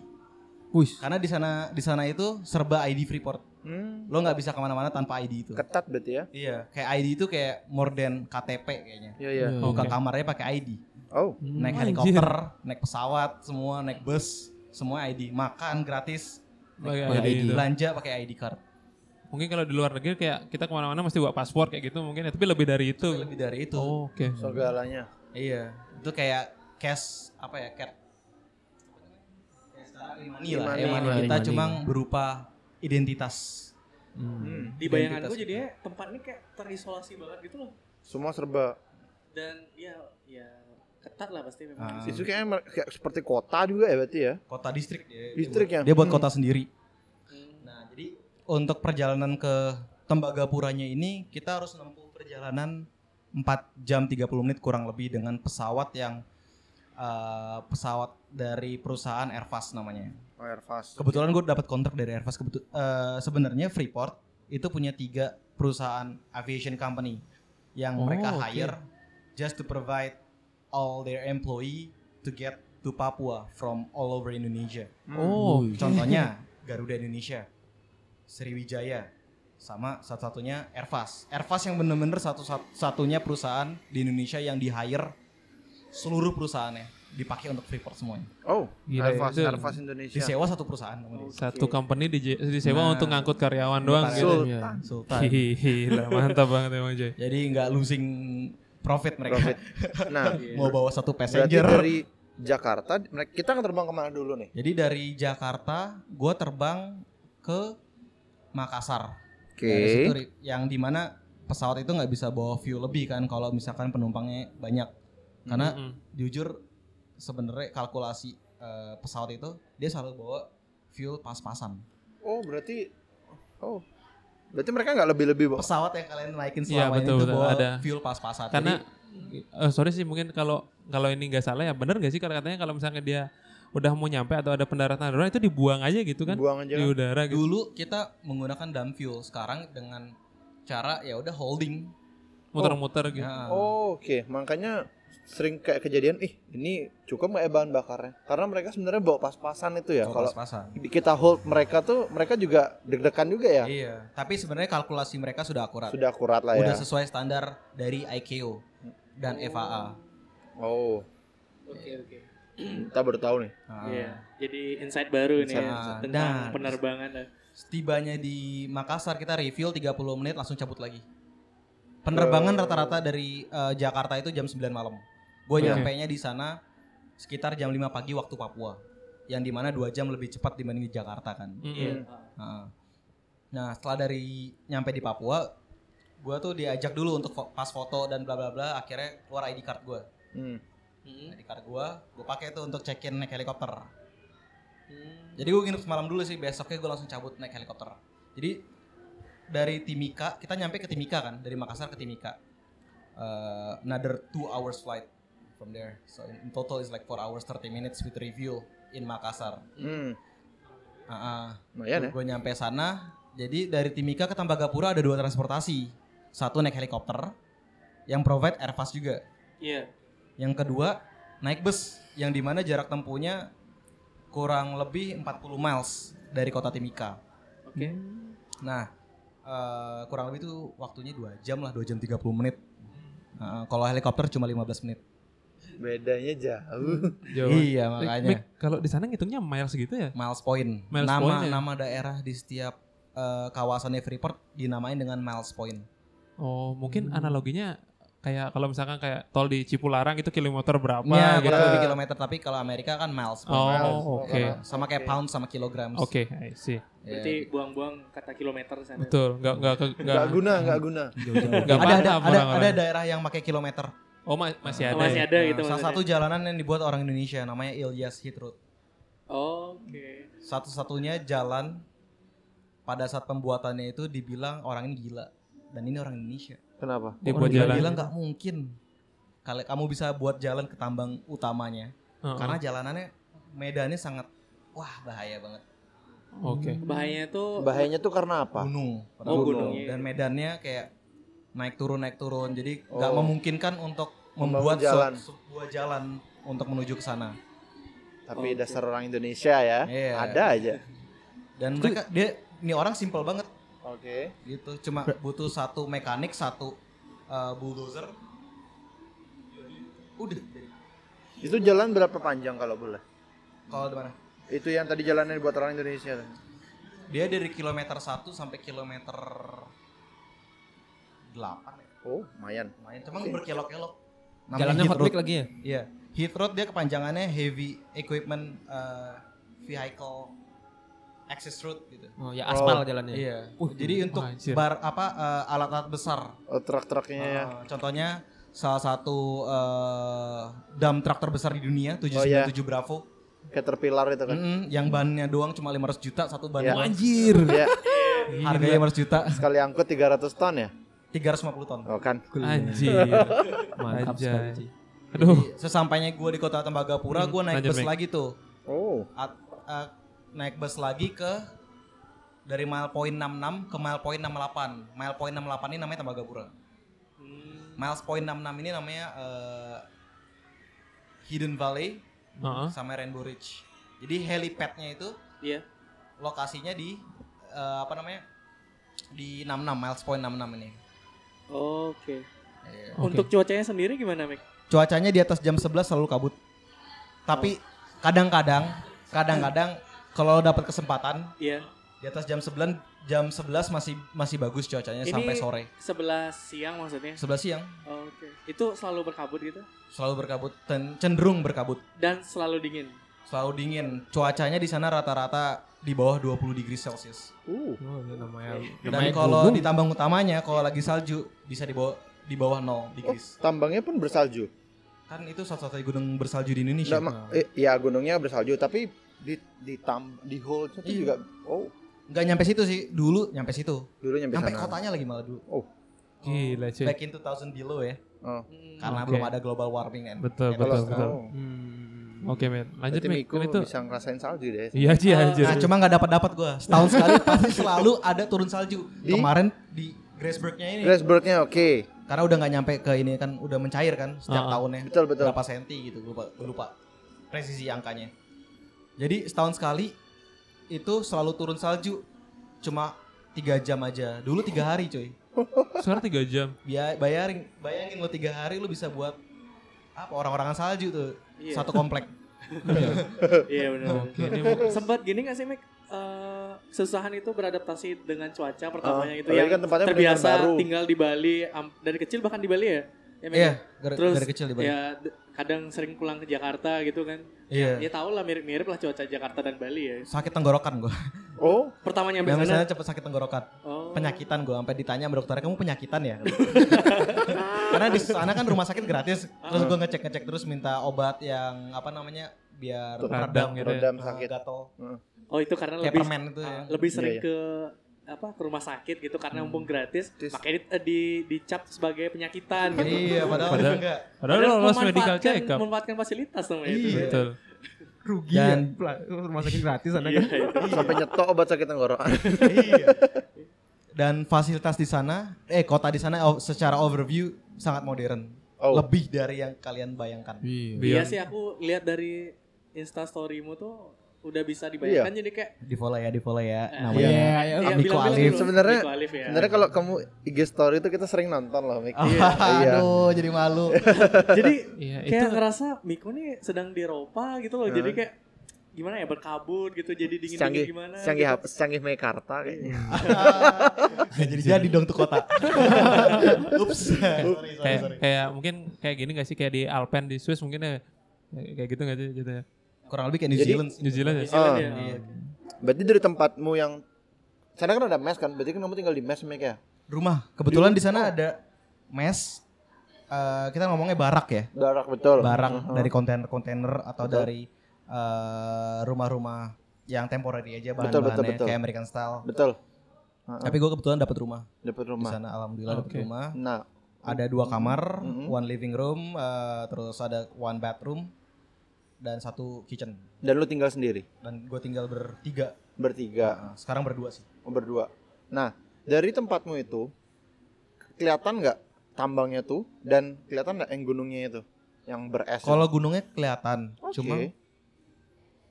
[SPEAKER 2] Wih.
[SPEAKER 5] Karena di sana di sana itu serba ID Freeport.
[SPEAKER 4] Hmm.
[SPEAKER 5] Lo nggak bisa kemana-mana tanpa ID itu.
[SPEAKER 4] Ketat berarti ya?
[SPEAKER 5] Iya, kayak ID itu kayak more than KTP kayaknya.
[SPEAKER 4] Iya, iya.
[SPEAKER 2] Iya.
[SPEAKER 5] Buka
[SPEAKER 1] Oke.
[SPEAKER 5] kamarnya pakai ID.
[SPEAKER 4] Oh,
[SPEAKER 5] Naik
[SPEAKER 1] Hmm,
[SPEAKER 5] helikopter, naik pesawat, semua naik bus, semua ID. Makan gratis,
[SPEAKER 1] Pakai
[SPEAKER 5] pakai
[SPEAKER 1] ID
[SPEAKER 5] ID.
[SPEAKER 1] itu.
[SPEAKER 5] Belanja pakai ID card.
[SPEAKER 1] Mungkin kalau di luar negeri kayak kita kemana-mana mesti bawa paspor kayak gitu mungkin ya. Tapi lebih dari itu.
[SPEAKER 5] lebih dari itu.
[SPEAKER 1] Oh, Oke.
[SPEAKER 4] segalanya.
[SPEAKER 5] Iya, itu kayak cash apa ya? Cash Cash sekarang e-money lah, ya.
[SPEAKER 4] E-money.
[SPEAKER 5] e-money
[SPEAKER 2] E-money.
[SPEAKER 5] kita
[SPEAKER 2] E-money.
[SPEAKER 5] cuma berupa identitas.
[SPEAKER 1] Hmm.
[SPEAKER 3] di bayanganku
[SPEAKER 5] identitas.
[SPEAKER 3] jadinya tempat ini kayak terisolasi banget gitu loh.
[SPEAKER 4] Semua serba.
[SPEAKER 3] dan ya ya ketat lah pasti memang
[SPEAKER 5] Ah.
[SPEAKER 3] di situ.
[SPEAKER 4] Itu kayaknya mer- kayak seperti kota juga ya berarti ya?
[SPEAKER 5] Kota distrik dia.
[SPEAKER 4] Distrik ya?
[SPEAKER 5] Dia buat kota sendiri.
[SPEAKER 3] Hmm.
[SPEAKER 5] Nah, jadi untuk perjalanan ke Tembagapuranya ini kita harus menempuh perjalanan 4 jam 30 menit kurang lebih dengan pesawat yang eh, pesawat dari perusahaan Airfast namanya.
[SPEAKER 4] Oh, Airfast.
[SPEAKER 5] Kebetulan gue dapat kontrak dari Airbus. Kebetul eh, sebenarnya Freeport itu punya tiga perusahaan aviation company yang
[SPEAKER 1] Oh,
[SPEAKER 5] mereka
[SPEAKER 1] oke.
[SPEAKER 5] hire just to provide all their employee to get to Papua from all over Indonesia.
[SPEAKER 4] Hmm.
[SPEAKER 1] Oh, oke.
[SPEAKER 5] Contohnya Garuda Indonesia, Sriwijaya, sama satu-satunya Airfast. Airfast yang bener-bener satu-satunya perusahaan di Indonesia yang di hire seluruh perusahaannya. dipakai untuk Freeport semuanya.
[SPEAKER 4] Oh,
[SPEAKER 1] Gila ya,
[SPEAKER 4] Harvas,
[SPEAKER 1] itu.
[SPEAKER 4] Harvas Indonesia.
[SPEAKER 5] Disewa satu perusahaan sama dia.
[SPEAKER 1] Satu company di, disewa
[SPEAKER 5] Nah,
[SPEAKER 1] untuk ngangkut karyawan doang gitu.
[SPEAKER 4] Sultan.
[SPEAKER 5] Sultan.
[SPEAKER 1] Gila, mantap banget emang Jay.
[SPEAKER 5] Jadi nggak losing profit mereka.
[SPEAKER 4] Profit. Nah,
[SPEAKER 1] Iya.
[SPEAKER 3] Iya.
[SPEAKER 5] Mau bawa satu
[SPEAKER 4] berarti
[SPEAKER 5] passenger.
[SPEAKER 4] dari Jakarta, mereka- kita terbang kemana dulu nih?
[SPEAKER 5] Jadi dari Jakarta gue terbang ke Makassar.
[SPEAKER 4] Oke.
[SPEAKER 5] Dari situ, Ri- yang dimana pesawat itu nggak bisa bawa view lebih kan kalau misalkan penumpangnya banyak. Karena
[SPEAKER 1] Mm-mm.
[SPEAKER 5] jujur sebenarnya kalkulasi eh, pesawat itu dia selalu bawa fuel pas-pasan.
[SPEAKER 4] Oh, berarti oh. Berarti mereka nggak lebih-lebih, Bo.
[SPEAKER 5] Pesawat yang kalian naikin
[SPEAKER 1] Iya,
[SPEAKER 5] selama
[SPEAKER 1] betul,
[SPEAKER 5] ini tuh
[SPEAKER 1] betul.
[SPEAKER 5] bawa
[SPEAKER 1] Ada.
[SPEAKER 5] fuel pas-pasan.
[SPEAKER 1] karena
[SPEAKER 5] Jadi,
[SPEAKER 1] eh, sorry sih mungkin kalau kalau ini nggak salah ya benar nggak sih kalau katanya kalau misalnya dia udah mau nyampe atau ada pendaratan darurat itu dibuang aja gitu kan
[SPEAKER 4] Buang aja.
[SPEAKER 1] di
[SPEAKER 5] Iya.
[SPEAKER 4] kan?
[SPEAKER 1] udara gitu
[SPEAKER 5] dulu kita menggunakan dump fuel, sekarang dengan cara ya udah holding.
[SPEAKER 1] muter-muter gitu
[SPEAKER 5] Nah,
[SPEAKER 4] Oh, oke. Makanya sering kayak kejadian, ih, ini cukup nggak ya bahan bakarnya? Karena mereka sebenarnya bawa pas-pasan itu ya.
[SPEAKER 5] bawa
[SPEAKER 4] Kalau
[SPEAKER 5] pas-pasan.
[SPEAKER 4] di- kita hold mereka tuh, mereka juga deg-degan juga ya.
[SPEAKER 5] Iya, tapi sebenarnya kalkulasi mereka sudah akurat.
[SPEAKER 4] Sudah akurat lah ya.
[SPEAKER 5] Iya. Udah sesuai standar dari ICAO dan FAA.
[SPEAKER 4] Oh,
[SPEAKER 3] Oke oke.
[SPEAKER 4] kita baru tahu nih.
[SPEAKER 5] Nah,
[SPEAKER 3] Iya. Jadi insight baru nih
[SPEAKER 5] Insight,
[SPEAKER 3] ya,
[SPEAKER 5] insight.
[SPEAKER 3] tentang
[SPEAKER 5] Nah.
[SPEAKER 3] penerbangan.
[SPEAKER 5] Setibanya di Makassar kita refuel 30 menit langsung cabut lagi. Penerbangan
[SPEAKER 4] Oh.
[SPEAKER 5] rata-rata dari eh, Jakarta itu jam 9 malam. Gue
[SPEAKER 1] Oke.
[SPEAKER 5] nyampe nya di sana sekitar jam 5 pagi waktu Papua. Yang dimana dua jam lebih cepat dibanding di Jakarta kan.
[SPEAKER 1] Mm-mm.
[SPEAKER 3] Iya.
[SPEAKER 5] Nah, Nah, setelah dari nyampe di Papua, gue tuh diajak dulu untuk fo- pas foto dan bla bla bla. Akhirnya keluar ID card gue.
[SPEAKER 4] Hmm.
[SPEAKER 3] Mm.
[SPEAKER 5] ID card gue, gue pakai tuh untuk check-in naik helikopter.
[SPEAKER 3] Mm.
[SPEAKER 5] Jadi gue nginep semalam dulu sih, besoknya gue langsung cabut naik helikopter. Jadi dari Timika, kita nyampe ke Timika kan, dari Makassar ke Timika. Uh, another two hours flight from there. So in, in total is like 4 hours 30 minutes with review in Makassar.
[SPEAKER 4] Hmm.
[SPEAKER 5] Ah, ah.
[SPEAKER 4] Lumayan ya.
[SPEAKER 5] gue nyampe sana, jadi dari Timika ke Tambagapura ada dua transportasi. Satu naik helikopter, yang provide Airfast juga.
[SPEAKER 3] Iya.
[SPEAKER 5] Yang kedua naik bus, yang dimana jarak tempuhnya kurang lebih 40 miles dari kota Timika.
[SPEAKER 3] Oke.
[SPEAKER 5] Nah, eh, kurang lebih itu waktunya 2 jam lah, 2 jam 30 menit. Nah, kalau helikopter cuma 15 menit.
[SPEAKER 4] Bedanya jauh.
[SPEAKER 1] Jauh. Eh,
[SPEAKER 5] Iya, makanya.
[SPEAKER 1] Mik, kalau di sana ngitungnya miles gitu ya
[SPEAKER 5] Miles point.
[SPEAKER 1] Miles
[SPEAKER 5] nama
[SPEAKER 1] point ya?
[SPEAKER 5] nama daerah di setiap eh, kawasannya Freeport dinamain dengan miles point.
[SPEAKER 1] oh mungkin analoginya kayak kalau misalkan kayak tol di Cipularang itu kilometer berapa
[SPEAKER 5] Ya,
[SPEAKER 1] gitu
[SPEAKER 5] kurang lebih kilometer, tapi kalau Amerika kan miles point.
[SPEAKER 1] oh oke
[SPEAKER 5] Nah, Sama kayak
[SPEAKER 4] Oke.
[SPEAKER 5] pound sama Iya. kilogram.
[SPEAKER 1] oke I see.
[SPEAKER 3] Berarti buang-buang kata kilometer sana.
[SPEAKER 1] betul nggak nggak ke- nggak
[SPEAKER 4] Nggak guna, nggak guna.
[SPEAKER 5] ada,
[SPEAKER 1] Nggak
[SPEAKER 5] ada,
[SPEAKER 1] paham
[SPEAKER 5] ada,
[SPEAKER 1] orang-orang.
[SPEAKER 5] ada daerah yang pakai kilometer.
[SPEAKER 1] oh ma- masih ada
[SPEAKER 3] Oh, masih
[SPEAKER 1] ya?
[SPEAKER 3] ada gitu maksudnya.
[SPEAKER 5] Nah, salah satu jalanan yang dibuat orang Indonesia namanya Ilyas Hit Road.
[SPEAKER 3] Oke.
[SPEAKER 5] satu-satunya jalan pada saat pembuatannya itu dibilang orang ini gila dan ini orang Indonesia.
[SPEAKER 4] Kenapa?
[SPEAKER 1] dibuat
[SPEAKER 5] orang
[SPEAKER 1] jalan
[SPEAKER 5] bilang nggak mungkin kalau kamu bisa buat jalan ke tambang utamanya
[SPEAKER 1] Heeh.
[SPEAKER 5] karena jalanannya medannya sangat wah bahaya banget
[SPEAKER 1] oke
[SPEAKER 3] Bahayanya tuh
[SPEAKER 4] Bahayanya tuh karena apa?
[SPEAKER 5] gunung
[SPEAKER 3] Oh,
[SPEAKER 4] gunung.
[SPEAKER 3] gunungnya.
[SPEAKER 5] dan medannya kayak naik turun naik turun jadi nggak
[SPEAKER 4] Oh.
[SPEAKER 5] memungkinkan untuk
[SPEAKER 4] Membangun
[SPEAKER 5] membuat su-
[SPEAKER 4] jalan.
[SPEAKER 5] sebuah jalan untuk menuju ke sana
[SPEAKER 4] Tapi
[SPEAKER 3] Oke.
[SPEAKER 4] dasar orang Indonesia ya.
[SPEAKER 5] Iya.
[SPEAKER 4] Ada aja.
[SPEAKER 5] dan mereka dia ini orang simple banget
[SPEAKER 4] Oke.
[SPEAKER 5] gitu cuma butuh satu mekanik satu uh, bulldozer udah
[SPEAKER 4] Itu jalan berapa panjang kalau boleh?
[SPEAKER 5] kalau di mana
[SPEAKER 4] Itu yang tadi jalannya buat orang Indonesia.
[SPEAKER 5] dia dari kilometer 1 sampai kilometer 8 ya,
[SPEAKER 4] Oh, lumayan.
[SPEAKER 5] lumayan cuma berkelok-kelok Namanya
[SPEAKER 2] Jalannya
[SPEAKER 5] Heath
[SPEAKER 2] hot mic
[SPEAKER 5] Road.
[SPEAKER 2] lagi ya?
[SPEAKER 5] iya Heath Road dia kepanjangannya heavy equipment uh, vehicle access road gitu
[SPEAKER 2] Oh ya
[SPEAKER 4] aspal
[SPEAKER 2] aspal jalannya.
[SPEAKER 5] iya
[SPEAKER 1] Uh,
[SPEAKER 5] jadi untuk
[SPEAKER 1] anjir.
[SPEAKER 5] bar apa uh, alat-alat besar
[SPEAKER 4] Oh, truk-truknya ya.
[SPEAKER 5] Uh, contohnya salah satu eh, dump truck terbesar di dunia 797 Bravo.
[SPEAKER 4] Caterpillar itu kan.
[SPEAKER 5] Mm-mm, yang bannya doang cuma 500 juta satu ban.
[SPEAKER 4] Iya.
[SPEAKER 5] doang.
[SPEAKER 2] Anjir.
[SPEAKER 4] Iya,
[SPEAKER 5] Harganya 500 juta,
[SPEAKER 4] sekali angkut 300 ton ya.
[SPEAKER 5] 350 ton.
[SPEAKER 4] Oh kan.
[SPEAKER 1] anjir
[SPEAKER 2] Mantap
[SPEAKER 1] Anjay.
[SPEAKER 2] sekali. Ci.
[SPEAKER 1] aduh
[SPEAKER 5] Jadi, Sesampainya gue di kota Tembagapura,
[SPEAKER 1] Hmm,
[SPEAKER 5] gue naik
[SPEAKER 1] lanjut,
[SPEAKER 5] bus
[SPEAKER 1] Mike.
[SPEAKER 5] lagi tuh.
[SPEAKER 4] Oh,
[SPEAKER 5] At- eh, naik bus lagi ke dari mile point 66 ke mile point 68. Mile point 68 ini namanya Tembagapura.
[SPEAKER 3] Hmm,
[SPEAKER 5] Miles point 66 ini namanya eh, Hidden Valley
[SPEAKER 1] Heeh.
[SPEAKER 5] sama Rainbow Ridge. Jadi helipadnya itu
[SPEAKER 3] Iya.
[SPEAKER 5] lokasinya di eh, apa namanya di 66 miles point 66 ini.
[SPEAKER 3] Oke.
[SPEAKER 5] Iya.
[SPEAKER 1] Oke.
[SPEAKER 3] Untuk cuacanya sendiri gimana, Mik?
[SPEAKER 5] Cuacanya di atas jam 11 selalu kabut. Tapi kadang-kadang, kadang-kadang kalau dapat kesempatan
[SPEAKER 3] Iya.
[SPEAKER 5] di atas jam 9 jam 11 masih masih bagus cuacanya
[SPEAKER 3] Ini
[SPEAKER 5] sampai sore.
[SPEAKER 3] 11 siang maksudnya.
[SPEAKER 5] 11 siang
[SPEAKER 3] Oh, Oke. Itu selalu berkabut gitu
[SPEAKER 5] selalu berkabut, ten- cenderung berkabut,
[SPEAKER 3] dan selalu dingin.
[SPEAKER 5] selalu dingin. Cuacanya di sana rata-rata di bawah 20 degrees Celcius.
[SPEAKER 4] Uh,
[SPEAKER 2] Oh, ini namanya,
[SPEAKER 5] Dan kalau ditambang utamanya kalau lagi salju bisa di bawah di bawah 0 degrees.
[SPEAKER 4] Oh, tambangnya pun bersalju.
[SPEAKER 5] Kan itu satu-satunya gunung bersalju di Indonesia.
[SPEAKER 4] Nggak, ma- eh, ya gunungnya bersalju tapi di di tam di hole itu
[SPEAKER 5] Iya.
[SPEAKER 4] juga oh
[SPEAKER 5] Nggak nyampe situ sih, dulu nyampe situ.
[SPEAKER 4] dulu nyampe
[SPEAKER 5] Nyampe
[SPEAKER 4] sana.
[SPEAKER 5] kotanya lagi malah dulu.
[SPEAKER 4] Oh.
[SPEAKER 1] Gila, cuy.
[SPEAKER 5] Back in 2000 below ya,
[SPEAKER 4] Oh.
[SPEAKER 3] Hmm.
[SPEAKER 5] karena
[SPEAKER 1] Oke.
[SPEAKER 5] belum ada global warming kan.
[SPEAKER 1] Betul,
[SPEAKER 5] Kalau-
[SPEAKER 4] Kalau
[SPEAKER 1] betul, betul.
[SPEAKER 4] oh,
[SPEAKER 2] Hmm.
[SPEAKER 1] Oke, men. Lanjut,
[SPEAKER 4] berarti
[SPEAKER 1] Mik.
[SPEAKER 4] Miko
[SPEAKER 1] Kan itu.
[SPEAKER 4] bisa ngerasain salju deh.
[SPEAKER 1] Iya, Ci,
[SPEAKER 3] Ah,
[SPEAKER 1] anjir.
[SPEAKER 5] Nah, cuma nggak dapat dapat gua. Setahun sekali pasti selalu ada turun salju.
[SPEAKER 4] Di?
[SPEAKER 5] Kemarin di Graceburg-nya ini.
[SPEAKER 4] Grassbergnya oke.
[SPEAKER 5] Karena udah nggak nyampe ke ini kan, udah mencair kan setiap
[SPEAKER 1] Ah, ah.
[SPEAKER 5] tahunnya.
[SPEAKER 4] Betul betul.
[SPEAKER 5] Berapa senti gitu, gua lupa, gua lupa presisi angkanya. Jadi setahun sekali itu selalu turun salju. Cuma tiga jam aja. Dulu tiga hari coy.
[SPEAKER 1] Sekarang 3 jam.
[SPEAKER 5] Bia- bayarin, bayangin lo tiga hari lo bisa buat apa orang-orangan salju tuh
[SPEAKER 3] Iya.
[SPEAKER 5] satu komplek.
[SPEAKER 3] Iya benar.
[SPEAKER 1] Oke, ini mau-
[SPEAKER 3] Sempat gini gak sih, Mik? Eh, kesusahan itu beradaptasi dengan cuaca pertamanya
[SPEAKER 4] Ah,
[SPEAKER 3] gitu
[SPEAKER 4] apalagi
[SPEAKER 3] yang
[SPEAKER 4] kan tempatnya
[SPEAKER 3] terbiasa
[SPEAKER 4] benar-benar baru.
[SPEAKER 3] tinggal di Bali am- dari kecil bahkan di Bali ya. Ya, Mik?
[SPEAKER 5] Iya, gar-
[SPEAKER 3] Terus
[SPEAKER 5] dari kecil di Bali.
[SPEAKER 3] ya d- kadang sering pulang ke Jakarta gitu kan.
[SPEAKER 5] Iya.
[SPEAKER 3] Ya tau lah mirip-mirip lah cuaca Jakarta dan Bali ya.
[SPEAKER 5] Sakit tenggorokan gua.
[SPEAKER 4] Oh,
[SPEAKER 3] Pertama nyampe Iya,
[SPEAKER 5] Yang
[SPEAKER 3] sana.
[SPEAKER 5] misalnya cepet sakit tenggorokan.
[SPEAKER 3] Oh.
[SPEAKER 5] Penyakitan gua sampai ditanya sama dokternya kamu penyakitan ya. Karena di sana kan rumah sakit gratis. Terus gua ngecek-ngecek terus minta obat yang apa namanya biar
[SPEAKER 1] Untuk
[SPEAKER 5] meredam
[SPEAKER 1] radang gitu ya.
[SPEAKER 4] redam
[SPEAKER 5] eh,
[SPEAKER 4] sakit.
[SPEAKER 5] gatal.
[SPEAKER 3] Oh, itu karena
[SPEAKER 5] Kayak
[SPEAKER 3] lebih
[SPEAKER 5] permen itu ya.
[SPEAKER 3] ah, lebih sering
[SPEAKER 4] Iya,
[SPEAKER 3] ke apa ke rumah sakit gitu karena
[SPEAKER 5] Hmm.
[SPEAKER 3] mumpung gratis
[SPEAKER 4] Tis.
[SPEAKER 3] makanya di, di- dicap sebagai penyakitan gitu.
[SPEAKER 5] Iya, padahal
[SPEAKER 1] Padahal-
[SPEAKER 5] enggak.
[SPEAKER 1] Padahal lo lolos medical
[SPEAKER 3] memanfaatkan-
[SPEAKER 1] check up.
[SPEAKER 3] Memanfaatkan fasilitas namanya itu.
[SPEAKER 5] Iya.
[SPEAKER 1] Betul.
[SPEAKER 2] Rugi ya,
[SPEAKER 5] Dan-
[SPEAKER 2] pla- rumah sakit gratis sana
[SPEAKER 3] Iya,
[SPEAKER 2] kan.
[SPEAKER 3] iya.
[SPEAKER 4] sampai nyetok obat sakit tenggorokan.
[SPEAKER 5] Iya. Dan fasilitas di sana, eh kota di sana o- secara overview sangat modern.
[SPEAKER 4] Oh.
[SPEAKER 5] Lebih dari yang kalian bayangkan.
[SPEAKER 3] Iya
[SPEAKER 1] Beyond.
[SPEAKER 3] sih aku lihat dari Insta story-mu tuh udah bisa dibayangkan
[SPEAKER 5] Iya.
[SPEAKER 3] jadi kayak
[SPEAKER 5] Di follow ya, di follow ya.
[SPEAKER 3] Eh,
[SPEAKER 5] Namanya.
[SPEAKER 2] Iya, iya.
[SPEAKER 3] ya,
[SPEAKER 5] Amiko
[SPEAKER 3] bilang-bilang
[SPEAKER 5] Alif.
[SPEAKER 3] dulu,
[SPEAKER 4] Nah, Sebenarnya-
[SPEAKER 3] Amiko Alif ya.
[SPEAKER 4] Sebenarnya kalau kamu IG story itu kita sering nonton loh, Mik.
[SPEAKER 5] Ah. Aduh, jadi malu.
[SPEAKER 3] jadi
[SPEAKER 1] Iya, itu
[SPEAKER 3] kayak ngerasa Miko nih sedang di Eropa gitu loh. Jadi kayak gimana ya berkabut gitu jadi dingin
[SPEAKER 4] Canggih,
[SPEAKER 3] dingin gimana
[SPEAKER 4] canggih
[SPEAKER 3] gitu.
[SPEAKER 4] apa? Canggih Mekarta kayaknya.
[SPEAKER 5] Nggak jadi jadi dong tuh kota. Ups. sorry, sorry,
[SPEAKER 1] kayak,
[SPEAKER 5] sorry.
[SPEAKER 1] kayak mungkin kayak gini gak sih kayak di Alpen di Swiss mungkin ya kayak gitu gak sih gitu ya.
[SPEAKER 5] Kurang lebih kayak New
[SPEAKER 4] Jadi-
[SPEAKER 5] Zealand.
[SPEAKER 1] New Zealand ya.
[SPEAKER 3] New Zealand
[SPEAKER 4] Ah.
[SPEAKER 3] ya.
[SPEAKER 5] Iya.
[SPEAKER 4] Berarti dari tempatmu yang sana kan ada mes kan? Berarti kan kamu tinggal di mes, Mik ya?
[SPEAKER 5] Rumah. Kebetulan di sana ada mes. Eh, kita ngomongnya barak ya.
[SPEAKER 4] Darak betul.
[SPEAKER 5] Barak dari kontainer-kontainer atau dari eh, rumah-rumah yang temporary
[SPEAKER 4] Betul,
[SPEAKER 5] aja
[SPEAKER 4] betul,
[SPEAKER 5] bahan-bahannya
[SPEAKER 4] betul.
[SPEAKER 5] kayak American style.
[SPEAKER 4] Betul.
[SPEAKER 5] Tapi gue kebetulan dapat rumah
[SPEAKER 4] Dapat
[SPEAKER 5] di
[SPEAKER 4] rumah.
[SPEAKER 5] sana. Alhamdulillah dapat
[SPEAKER 1] Oke.
[SPEAKER 5] rumah.
[SPEAKER 4] Nah,
[SPEAKER 5] Ada dua kamar,
[SPEAKER 4] Mhm.
[SPEAKER 5] one living room, eh, terus ada one bathroom dan satu kitchen.
[SPEAKER 4] dan lu tinggal sendiri
[SPEAKER 5] Dan gue tinggal bertiga.
[SPEAKER 4] bertiga, oh,
[SPEAKER 5] Nah, sekarang berdua sih.
[SPEAKER 4] berdua. Nah, dari tempatmu itu kelihatan nggak tambangnya tuh dan kelihatan nggak yang gunungnya itu yang beres?
[SPEAKER 5] Kalau gunungnya kelihatan,
[SPEAKER 4] Oke.
[SPEAKER 5] cuma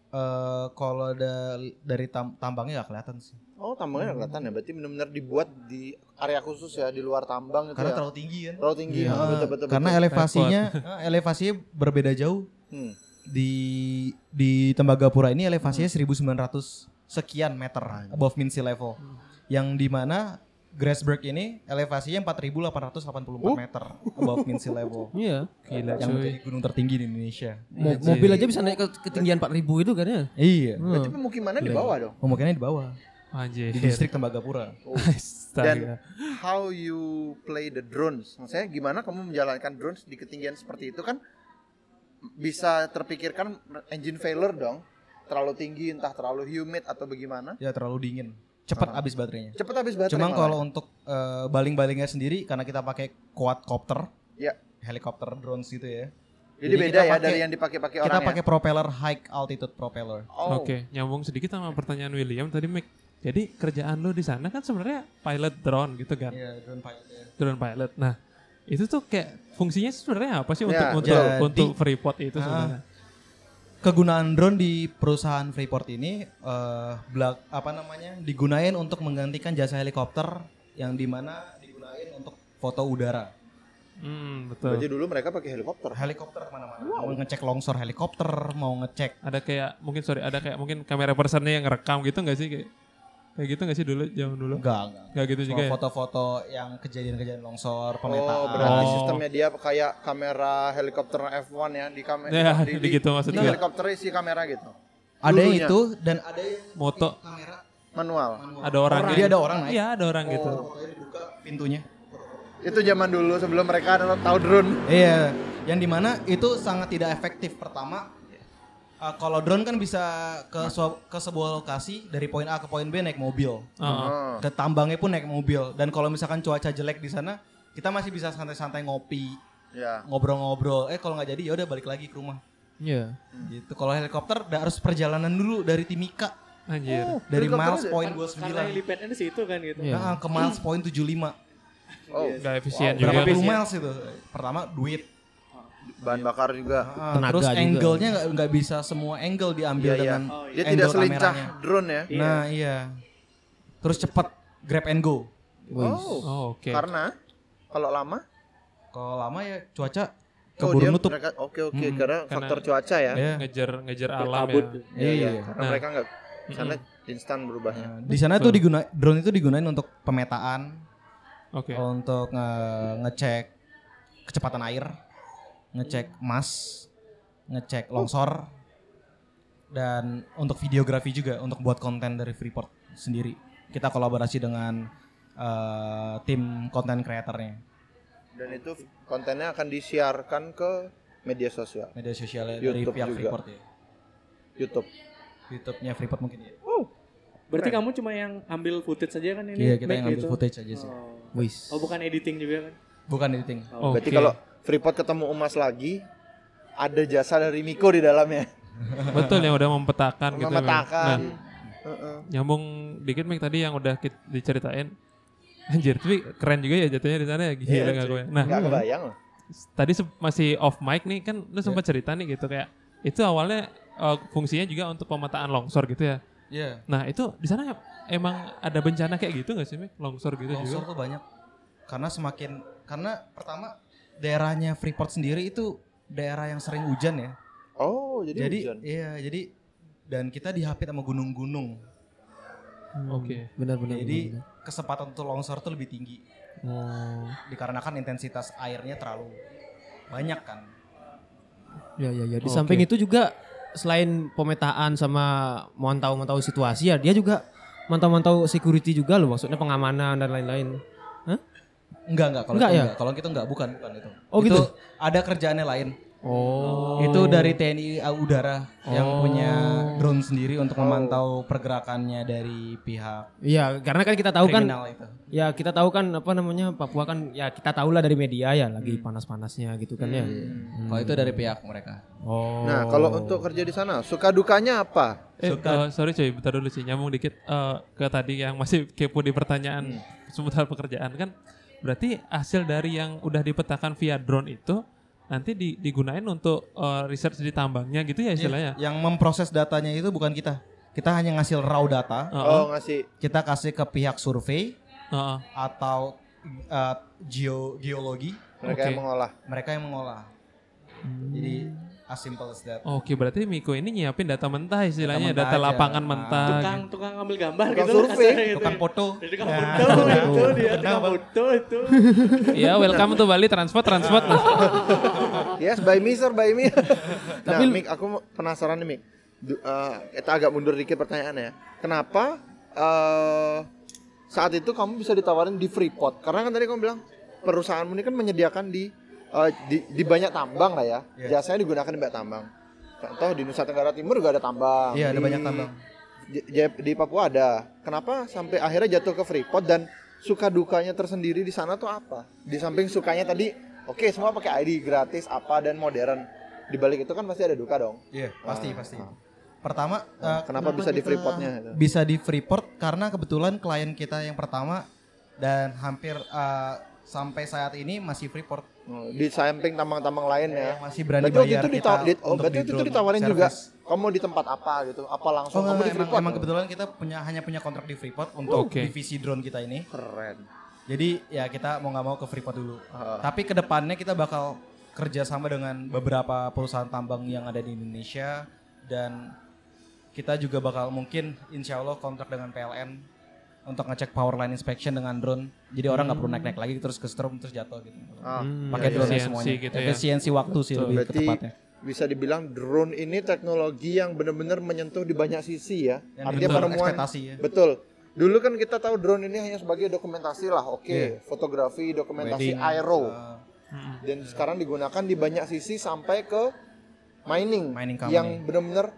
[SPEAKER 5] eh, kalau da- dari tam- tambangnya nggak kelihatan sih,
[SPEAKER 4] Oh, tambangnya nggak kelihatan ya. Berarti benar-benar dibuat di area khusus ya, di luar tambang itu
[SPEAKER 5] karena
[SPEAKER 4] ya.
[SPEAKER 5] terlalu tinggi kan.
[SPEAKER 4] Terlalu tinggi.
[SPEAKER 5] Iya.
[SPEAKER 4] ya, betul, betul,
[SPEAKER 5] karena ya-
[SPEAKER 4] betul.
[SPEAKER 5] elevasinya, eh, elevasinya berbeda jauh
[SPEAKER 4] Hmm.
[SPEAKER 5] di di Tembagapura ini
[SPEAKER 1] Hmm.
[SPEAKER 5] elevasinya 1900 sekian meter above mean sea level,
[SPEAKER 1] Hmm.
[SPEAKER 5] yang dimana Grassberg ini elevasinya 4884
[SPEAKER 4] Oh.
[SPEAKER 5] meter above mean sea level,
[SPEAKER 2] Iya.
[SPEAKER 1] Gila
[SPEAKER 5] yang
[SPEAKER 1] cuy.
[SPEAKER 5] menjadi gunung tertinggi di Indonesia.
[SPEAKER 2] Mo-
[SPEAKER 1] Anjir.
[SPEAKER 2] mobil aja bisa naik ke ketinggian 4000 itu kan ya.
[SPEAKER 5] Iya,
[SPEAKER 4] Berarti pemukimannya di bawah dong.
[SPEAKER 5] pemukimannya di bawah
[SPEAKER 1] Anjir.
[SPEAKER 5] di distrik Tembagapura.
[SPEAKER 1] Astaga.
[SPEAKER 4] How you play the drones? Maksudnya gimana kamu menjalankan drones di ketinggian seperti itu kan bisa terpikirkan engine failure dong. Terlalu tinggi entah terlalu humid atau bagaimana.
[SPEAKER 5] Ya terlalu dingin, cepat habis baterainya.
[SPEAKER 4] Cepet habis baterai.
[SPEAKER 5] Cuman
[SPEAKER 4] malah.
[SPEAKER 5] kalau untuk eh, baling-balingnya sendiri karena kita pakai quadcopter,
[SPEAKER 4] Iya.
[SPEAKER 5] helikopter drones gitu ya.
[SPEAKER 4] jadi
[SPEAKER 5] jadi
[SPEAKER 4] beda
[SPEAKER 5] kita
[SPEAKER 4] ya
[SPEAKER 5] pakai-
[SPEAKER 4] dari yang dipakai-pakai orang
[SPEAKER 5] Kita pakai propeller high altitude propeller.
[SPEAKER 4] ya. Oh.
[SPEAKER 1] Oke, nyambung sedikit sama pertanyaan William tadi Mik. Jadi kerjaan lo di sana kan sebenarnya pilot drone gitu kan,
[SPEAKER 5] Iya, drone pilot. ya.
[SPEAKER 1] drone pilot. Nah, itu tuh kayak fungsinya sebenarnya apa sih untuk
[SPEAKER 4] Ya, Ah.
[SPEAKER 1] untuk
[SPEAKER 5] jadi-
[SPEAKER 1] untuk Freeport itu sebenarnya?
[SPEAKER 5] Kegunaan drone di perusahaan Freeport ini eh belak- apa namanya? digunain untuk menggantikan jasa helikopter yang dimana digunain untuk foto udara.
[SPEAKER 1] Hmm,
[SPEAKER 4] Berarti
[SPEAKER 1] betul.
[SPEAKER 4] dulu mereka pakai helikopter.
[SPEAKER 5] Helikopter kemana-mana. Mau ngecek longsor helikopter, mau ngecek
[SPEAKER 1] Ada kayak mungkin sorry, ada kayak mungkin kamera personnya yang ngerekam gitu nggak sih kayak kayak gitu nggak sih dulu zaman dulu?
[SPEAKER 5] enggak enggak.
[SPEAKER 1] Nggak gitu
[SPEAKER 5] Cuma
[SPEAKER 1] juga ya?
[SPEAKER 5] foto-foto yang kejadian-kejadian longsor, pemetaan.
[SPEAKER 4] Oh, berarti
[SPEAKER 1] Oh.
[SPEAKER 4] sistemnya dia kayak kamera helikopter F1 ya di kamera
[SPEAKER 1] Ya, gitu maksud
[SPEAKER 4] di
[SPEAKER 1] gue.
[SPEAKER 4] helikopter isi kamera gitu.
[SPEAKER 5] Ada yang
[SPEAKER 4] Dulunya.
[SPEAKER 5] itu dan ada yang
[SPEAKER 1] Moto
[SPEAKER 5] kamera
[SPEAKER 4] Manual.
[SPEAKER 5] manual.
[SPEAKER 1] ada orang.
[SPEAKER 5] Jadi
[SPEAKER 1] yang-
[SPEAKER 5] ada orang naik.
[SPEAKER 1] Iya ada orang gitu.
[SPEAKER 5] Fotonya dibuka pintunya.
[SPEAKER 4] Itu zaman dulu sebelum mereka tahu drone.
[SPEAKER 5] Iya, yang dimana itu sangat tidak efektif. Pertama, eh, kalau drone kan bisa ke sua- ke sebuah lokasi dari poin A ke poin B naik mobil,
[SPEAKER 1] Heeh.
[SPEAKER 4] Oh.
[SPEAKER 5] ke tambangnya pun naik mobil. Dan kalau misalkan cuaca jelek di sana, kita masih bisa santai-santai ngopi,
[SPEAKER 4] Ya.
[SPEAKER 5] ngobrol-ngobrol. Eh kalau nggak jadi ya udah balik lagi ke rumah.
[SPEAKER 1] Iya.
[SPEAKER 5] Gitu. Kalau helikopter udah harus perjalanan dulu dari Timika,
[SPEAKER 1] Anjir.
[SPEAKER 4] Oh. helikopter
[SPEAKER 5] dari miles
[SPEAKER 4] aja.
[SPEAKER 3] Kan
[SPEAKER 5] point
[SPEAKER 3] Karena
[SPEAKER 5] 29.
[SPEAKER 3] helipadnya di situ kan gitu.
[SPEAKER 1] Iya.
[SPEAKER 5] Nah, ke miles point 75.
[SPEAKER 4] Oh,
[SPEAKER 1] Nggak efisien
[SPEAKER 4] Wow,
[SPEAKER 1] juga.
[SPEAKER 5] Berapa puluh miles itu? Pertama duit,
[SPEAKER 4] bahan bakar juga.
[SPEAKER 5] Ah,
[SPEAKER 2] Tenaga
[SPEAKER 5] terus
[SPEAKER 2] juga.
[SPEAKER 5] angle-nya nggak- nggak bisa semua angle diambil
[SPEAKER 4] Iya, iya.
[SPEAKER 5] dengan
[SPEAKER 3] Oh, iya.
[SPEAKER 4] Dia tidak
[SPEAKER 5] angle
[SPEAKER 4] selincah
[SPEAKER 5] kameranya.
[SPEAKER 4] drone ya.
[SPEAKER 3] Iya.
[SPEAKER 5] Nah iya. Terus cepat grab and go.
[SPEAKER 4] Oh.
[SPEAKER 1] Oh, oke.
[SPEAKER 4] Karena kalau lama
[SPEAKER 5] Kalau lama ya cuaca
[SPEAKER 4] oh,
[SPEAKER 5] keburu
[SPEAKER 4] dia
[SPEAKER 5] nutup.
[SPEAKER 4] mereka- oke oke
[SPEAKER 1] Hmm,
[SPEAKER 4] karena
[SPEAKER 1] karena-
[SPEAKER 4] faktor cuaca ya.
[SPEAKER 5] Iya.
[SPEAKER 1] Ngejar ngejar alam ya.
[SPEAKER 3] Berkabut.
[SPEAKER 4] Iya, iya.
[SPEAKER 5] Iya.
[SPEAKER 4] Karena
[SPEAKER 1] Nah.
[SPEAKER 4] mereka nggak karena instan berubahnya.
[SPEAKER 5] Nah, Di sana tuh diguna drone itu digunain untuk pemetaan,
[SPEAKER 1] Oke.
[SPEAKER 4] Oh.
[SPEAKER 5] untuk nge- ngecek kecepatan air, ngecek emas, ngecek longsor, dan untuk videografi juga untuk buat konten dari Freeport sendiri. Kita kolaborasi dengan eh, tim konten kreatornya,
[SPEAKER 4] Dan itu kontennya akan disiarkan ke media sosial,
[SPEAKER 5] media sosialnya
[SPEAKER 4] YouTube
[SPEAKER 5] dari pihak
[SPEAKER 4] juga.
[SPEAKER 5] Freeport ya.
[SPEAKER 4] YouTube. Oh,
[SPEAKER 5] YouTube-nya Freeport mungkin ya.
[SPEAKER 3] Berarti kamu cuma yang ambil footage saja kan ini?
[SPEAKER 5] Iya kita
[SPEAKER 3] make
[SPEAKER 5] yang ambil
[SPEAKER 3] gitu?
[SPEAKER 5] footage aja sih.
[SPEAKER 3] Oh.
[SPEAKER 2] Wis.
[SPEAKER 3] Oh, bukan editing juga kan?
[SPEAKER 5] Bukan editing.
[SPEAKER 1] Oke.
[SPEAKER 4] Berarti kalau Freeport ketemu emas lagi, ada jasa dari Miko di dalamnya.
[SPEAKER 1] Betul yang udah mempetakan gitu. memang.
[SPEAKER 4] Memetakan.
[SPEAKER 1] Nah,
[SPEAKER 4] Heeh.
[SPEAKER 1] nyambung dikit Mik tadi yang udah kit- diceritain. Anjir, tapi keren juga ya jatuhnya di sana ya. Gila
[SPEAKER 4] Iya,
[SPEAKER 1] nggak
[SPEAKER 4] cuy.
[SPEAKER 1] gue. Nah,
[SPEAKER 4] Nggak kebayang loh.
[SPEAKER 1] s- tadi se- masih off mic nih kan lu sempat
[SPEAKER 4] Iya.
[SPEAKER 1] cerita nih gitu kayak itu awalnya eh, fungsinya juga untuk pemetaan longsor gitu ya.
[SPEAKER 5] Iya.
[SPEAKER 1] Nah, itu di sana emang ada bencana kayak gitu nggak sih Mik? Longsor gitu
[SPEAKER 5] Longsor
[SPEAKER 1] juga.
[SPEAKER 5] tuh banyak. Karena semakin karena pertama daerahnya Freeport sendiri itu daerah yang sering hujan ya.
[SPEAKER 4] Oh, jadi,
[SPEAKER 5] Jadi,
[SPEAKER 4] hujan.
[SPEAKER 5] iya jadi dan kita dihapit sama gunung-gunung.
[SPEAKER 1] Oke.
[SPEAKER 2] Benar-benar.
[SPEAKER 5] Jadi kesempatan untuk longsor tuh lebih tinggi
[SPEAKER 1] Oh.
[SPEAKER 5] dikarenakan intensitas airnya terlalu banyak kan.
[SPEAKER 2] Ya ya ya. Di
[SPEAKER 1] Oke.
[SPEAKER 2] samping itu juga selain pemetaan sama mantau-mantau situasi ya, dia juga mantau-mantau security juga loh maksudnya pengamanan dan lain-lain. Hah?
[SPEAKER 5] Enggak enggak kalau
[SPEAKER 2] Enggak
[SPEAKER 5] itu
[SPEAKER 2] ya?
[SPEAKER 5] enggak. Kalau gitu enggak bukan bukan itu.
[SPEAKER 2] Oh,
[SPEAKER 5] Itu
[SPEAKER 2] gitu?
[SPEAKER 5] ada kerjaannya lain.
[SPEAKER 2] Oh.
[SPEAKER 5] Itu dari TNI Udara yang
[SPEAKER 1] Oh.
[SPEAKER 5] punya drone sendiri untuk memantau pergerakannya dari pihak
[SPEAKER 2] Iya, karena kan kita tahu kan
[SPEAKER 5] kriminal itu.
[SPEAKER 2] ya kita tahu kan apa namanya Papua kan ya kita tahu lah dari media ya lagi panas-panasnya gitu kan ya. Hmm.
[SPEAKER 5] Hmm. Kalau itu dari pihak mereka.
[SPEAKER 2] Oh.
[SPEAKER 4] Nah, kalau untuk kerja di sana, suka dukanya apa?
[SPEAKER 1] Eh, eh, sorry cuy, bentar dulu sih, nyambung dikit eh, ke tadi yang masih kepo di
[SPEAKER 5] Hmm.
[SPEAKER 1] pertanyaan seputar pekerjaan kan. Berarti hasil dari yang udah dipetakan via drone itu nanti di- digunain untuk eh, research di tambangnya gitu
[SPEAKER 5] Iya.
[SPEAKER 1] ya istilahnya.
[SPEAKER 5] Yang memproses datanya itu bukan kita. Kita hanya ngasih raw data,
[SPEAKER 4] Oh,
[SPEAKER 1] Heeh.
[SPEAKER 4] ngasih
[SPEAKER 5] kita kasih ke pihak survei
[SPEAKER 1] heeh.
[SPEAKER 5] atau uh, geo geologi,
[SPEAKER 4] mereka yang
[SPEAKER 1] Oke.
[SPEAKER 4] mengolah.
[SPEAKER 5] mereka yang mengolah. Jadi as simple as that.
[SPEAKER 1] Oh, Oke, berarti Miko ini nyiapin data mentah istilahnya,
[SPEAKER 5] mentah
[SPEAKER 1] data,
[SPEAKER 5] aja.
[SPEAKER 1] lapangan
[SPEAKER 5] Ah.
[SPEAKER 1] mentah.
[SPEAKER 3] Tukang tukang ambil gambar
[SPEAKER 4] Tukang
[SPEAKER 3] gitu. loh,
[SPEAKER 4] survei.
[SPEAKER 3] kasarnya gitu.
[SPEAKER 5] Tukang foto.
[SPEAKER 3] Jadi tukang
[SPEAKER 5] Ya.
[SPEAKER 3] foto itu dia, tukang foto itu.
[SPEAKER 1] gitu. ya, welcome to Bali transport transport.
[SPEAKER 5] Hmm.
[SPEAKER 1] Mas.
[SPEAKER 4] Yes, by me sir, by me. nah,
[SPEAKER 2] Tapi-
[SPEAKER 4] Mik, aku mau- penasaran nih, Mik. Du- eh, kita agak mundur dikit pertanyaannya. ya. Kenapa eh, saat itu kamu bisa ditawarin di Freeport? Karena kan tadi kamu bilang perusahaanmu ini kan menyediakan di eh, di, di banyak tambang lah ya.
[SPEAKER 5] Iya.
[SPEAKER 4] Jasanya digunakan di banyak tambang. Contoh di Nusa Tenggara Timur juga ada tambang.
[SPEAKER 5] Iya, ada
[SPEAKER 4] Di-
[SPEAKER 5] banyak tambang.
[SPEAKER 4] Di, Jaya- di Papua ada. Kenapa sampai akhirnya jatuh ke Freeport dan suka dukanya tersendiri di sana tuh apa? Di samping sukanya tadi, oke semua pakai ID gratis apa dan modern. Di balik itu kan pasti ada duka dong.
[SPEAKER 5] Iya, pasti
[SPEAKER 4] Ah,
[SPEAKER 5] pasti.
[SPEAKER 4] ah.
[SPEAKER 5] Pertama uh,
[SPEAKER 4] Kenapa bisa di
[SPEAKER 5] kita
[SPEAKER 4] Freeport-nya itu?
[SPEAKER 5] Bisa di Freeport karena kebetulan klien kita yang pertama dan hampir uh, sampai saat ini masih Freeport
[SPEAKER 4] Oh, Di samping tambang-tambang lain ya.
[SPEAKER 5] yang masih berani
[SPEAKER 4] Berarti waktu
[SPEAKER 5] bayar
[SPEAKER 4] itu
[SPEAKER 5] kita
[SPEAKER 4] dita- di- oh,
[SPEAKER 5] untuk
[SPEAKER 4] berarti
[SPEAKER 5] di
[SPEAKER 4] itu
[SPEAKER 5] drone
[SPEAKER 4] ditawarin juga
[SPEAKER 5] service.
[SPEAKER 4] kamu di tempat apa gitu? Apa langsung
[SPEAKER 5] Oh,
[SPEAKER 4] kamu
[SPEAKER 5] enggak,
[SPEAKER 4] di
[SPEAKER 5] emang,
[SPEAKER 4] Freeport?
[SPEAKER 5] Oh, emang kebetulan kita punya hanya punya kontrak di Freeport untuk
[SPEAKER 1] Oke.
[SPEAKER 5] divisi drone kita ini.
[SPEAKER 4] keren.
[SPEAKER 5] Jadi ya kita mau nggak mau ke Freeport dulu.
[SPEAKER 4] Ah.
[SPEAKER 5] Tapi kedepannya kita bakal kerjasama dengan beberapa perusahaan tambang yang ada di Indonesia dan kita juga bakal mungkin insya Allah kontrak dengan PLN untuk ngecek power line inspection dengan drone. Jadi orang nggak perlu naik-naik lagi terus ke strom terus jatuh gitu.
[SPEAKER 4] Ah,
[SPEAKER 5] Pakai drone
[SPEAKER 1] Hmm. efisiensi
[SPEAKER 5] semuanya.
[SPEAKER 1] gitu ya.
[SPEAKER 5] Efisiensi waktu sih lebih ke ya.
[SPEAKER 4] Berarti
[SPEAKER 5] tepatnya.
[SPEAKER 4] bisa dibilang drone ini teknologi yang benar-benar menyentuh di banyak sisi ya.
[SPEAKER 5] Yang
[SPEAKER 4] Artinya
[SPEAKER 5] betul,
[SPEAKER 4] penemuan
[SPEAKER 5] ekspektasi ya.
[SPEAKER 4] Betul. Dulu kan kita tahu drone ini hanya sebagai dokumentasi lah, oke, fotografi, dokumentasi
[SPEAKER 5] Iya. Wedding,
[SPEAKER 4] aero.
[SPEAKER 5] eh,
[SPEAKER 4] Dan sekarang digunakan di banyak sisi sampai ke mining,
[SPEAKER 5] Mining company.
[SPEAKER 4] yang benar-benar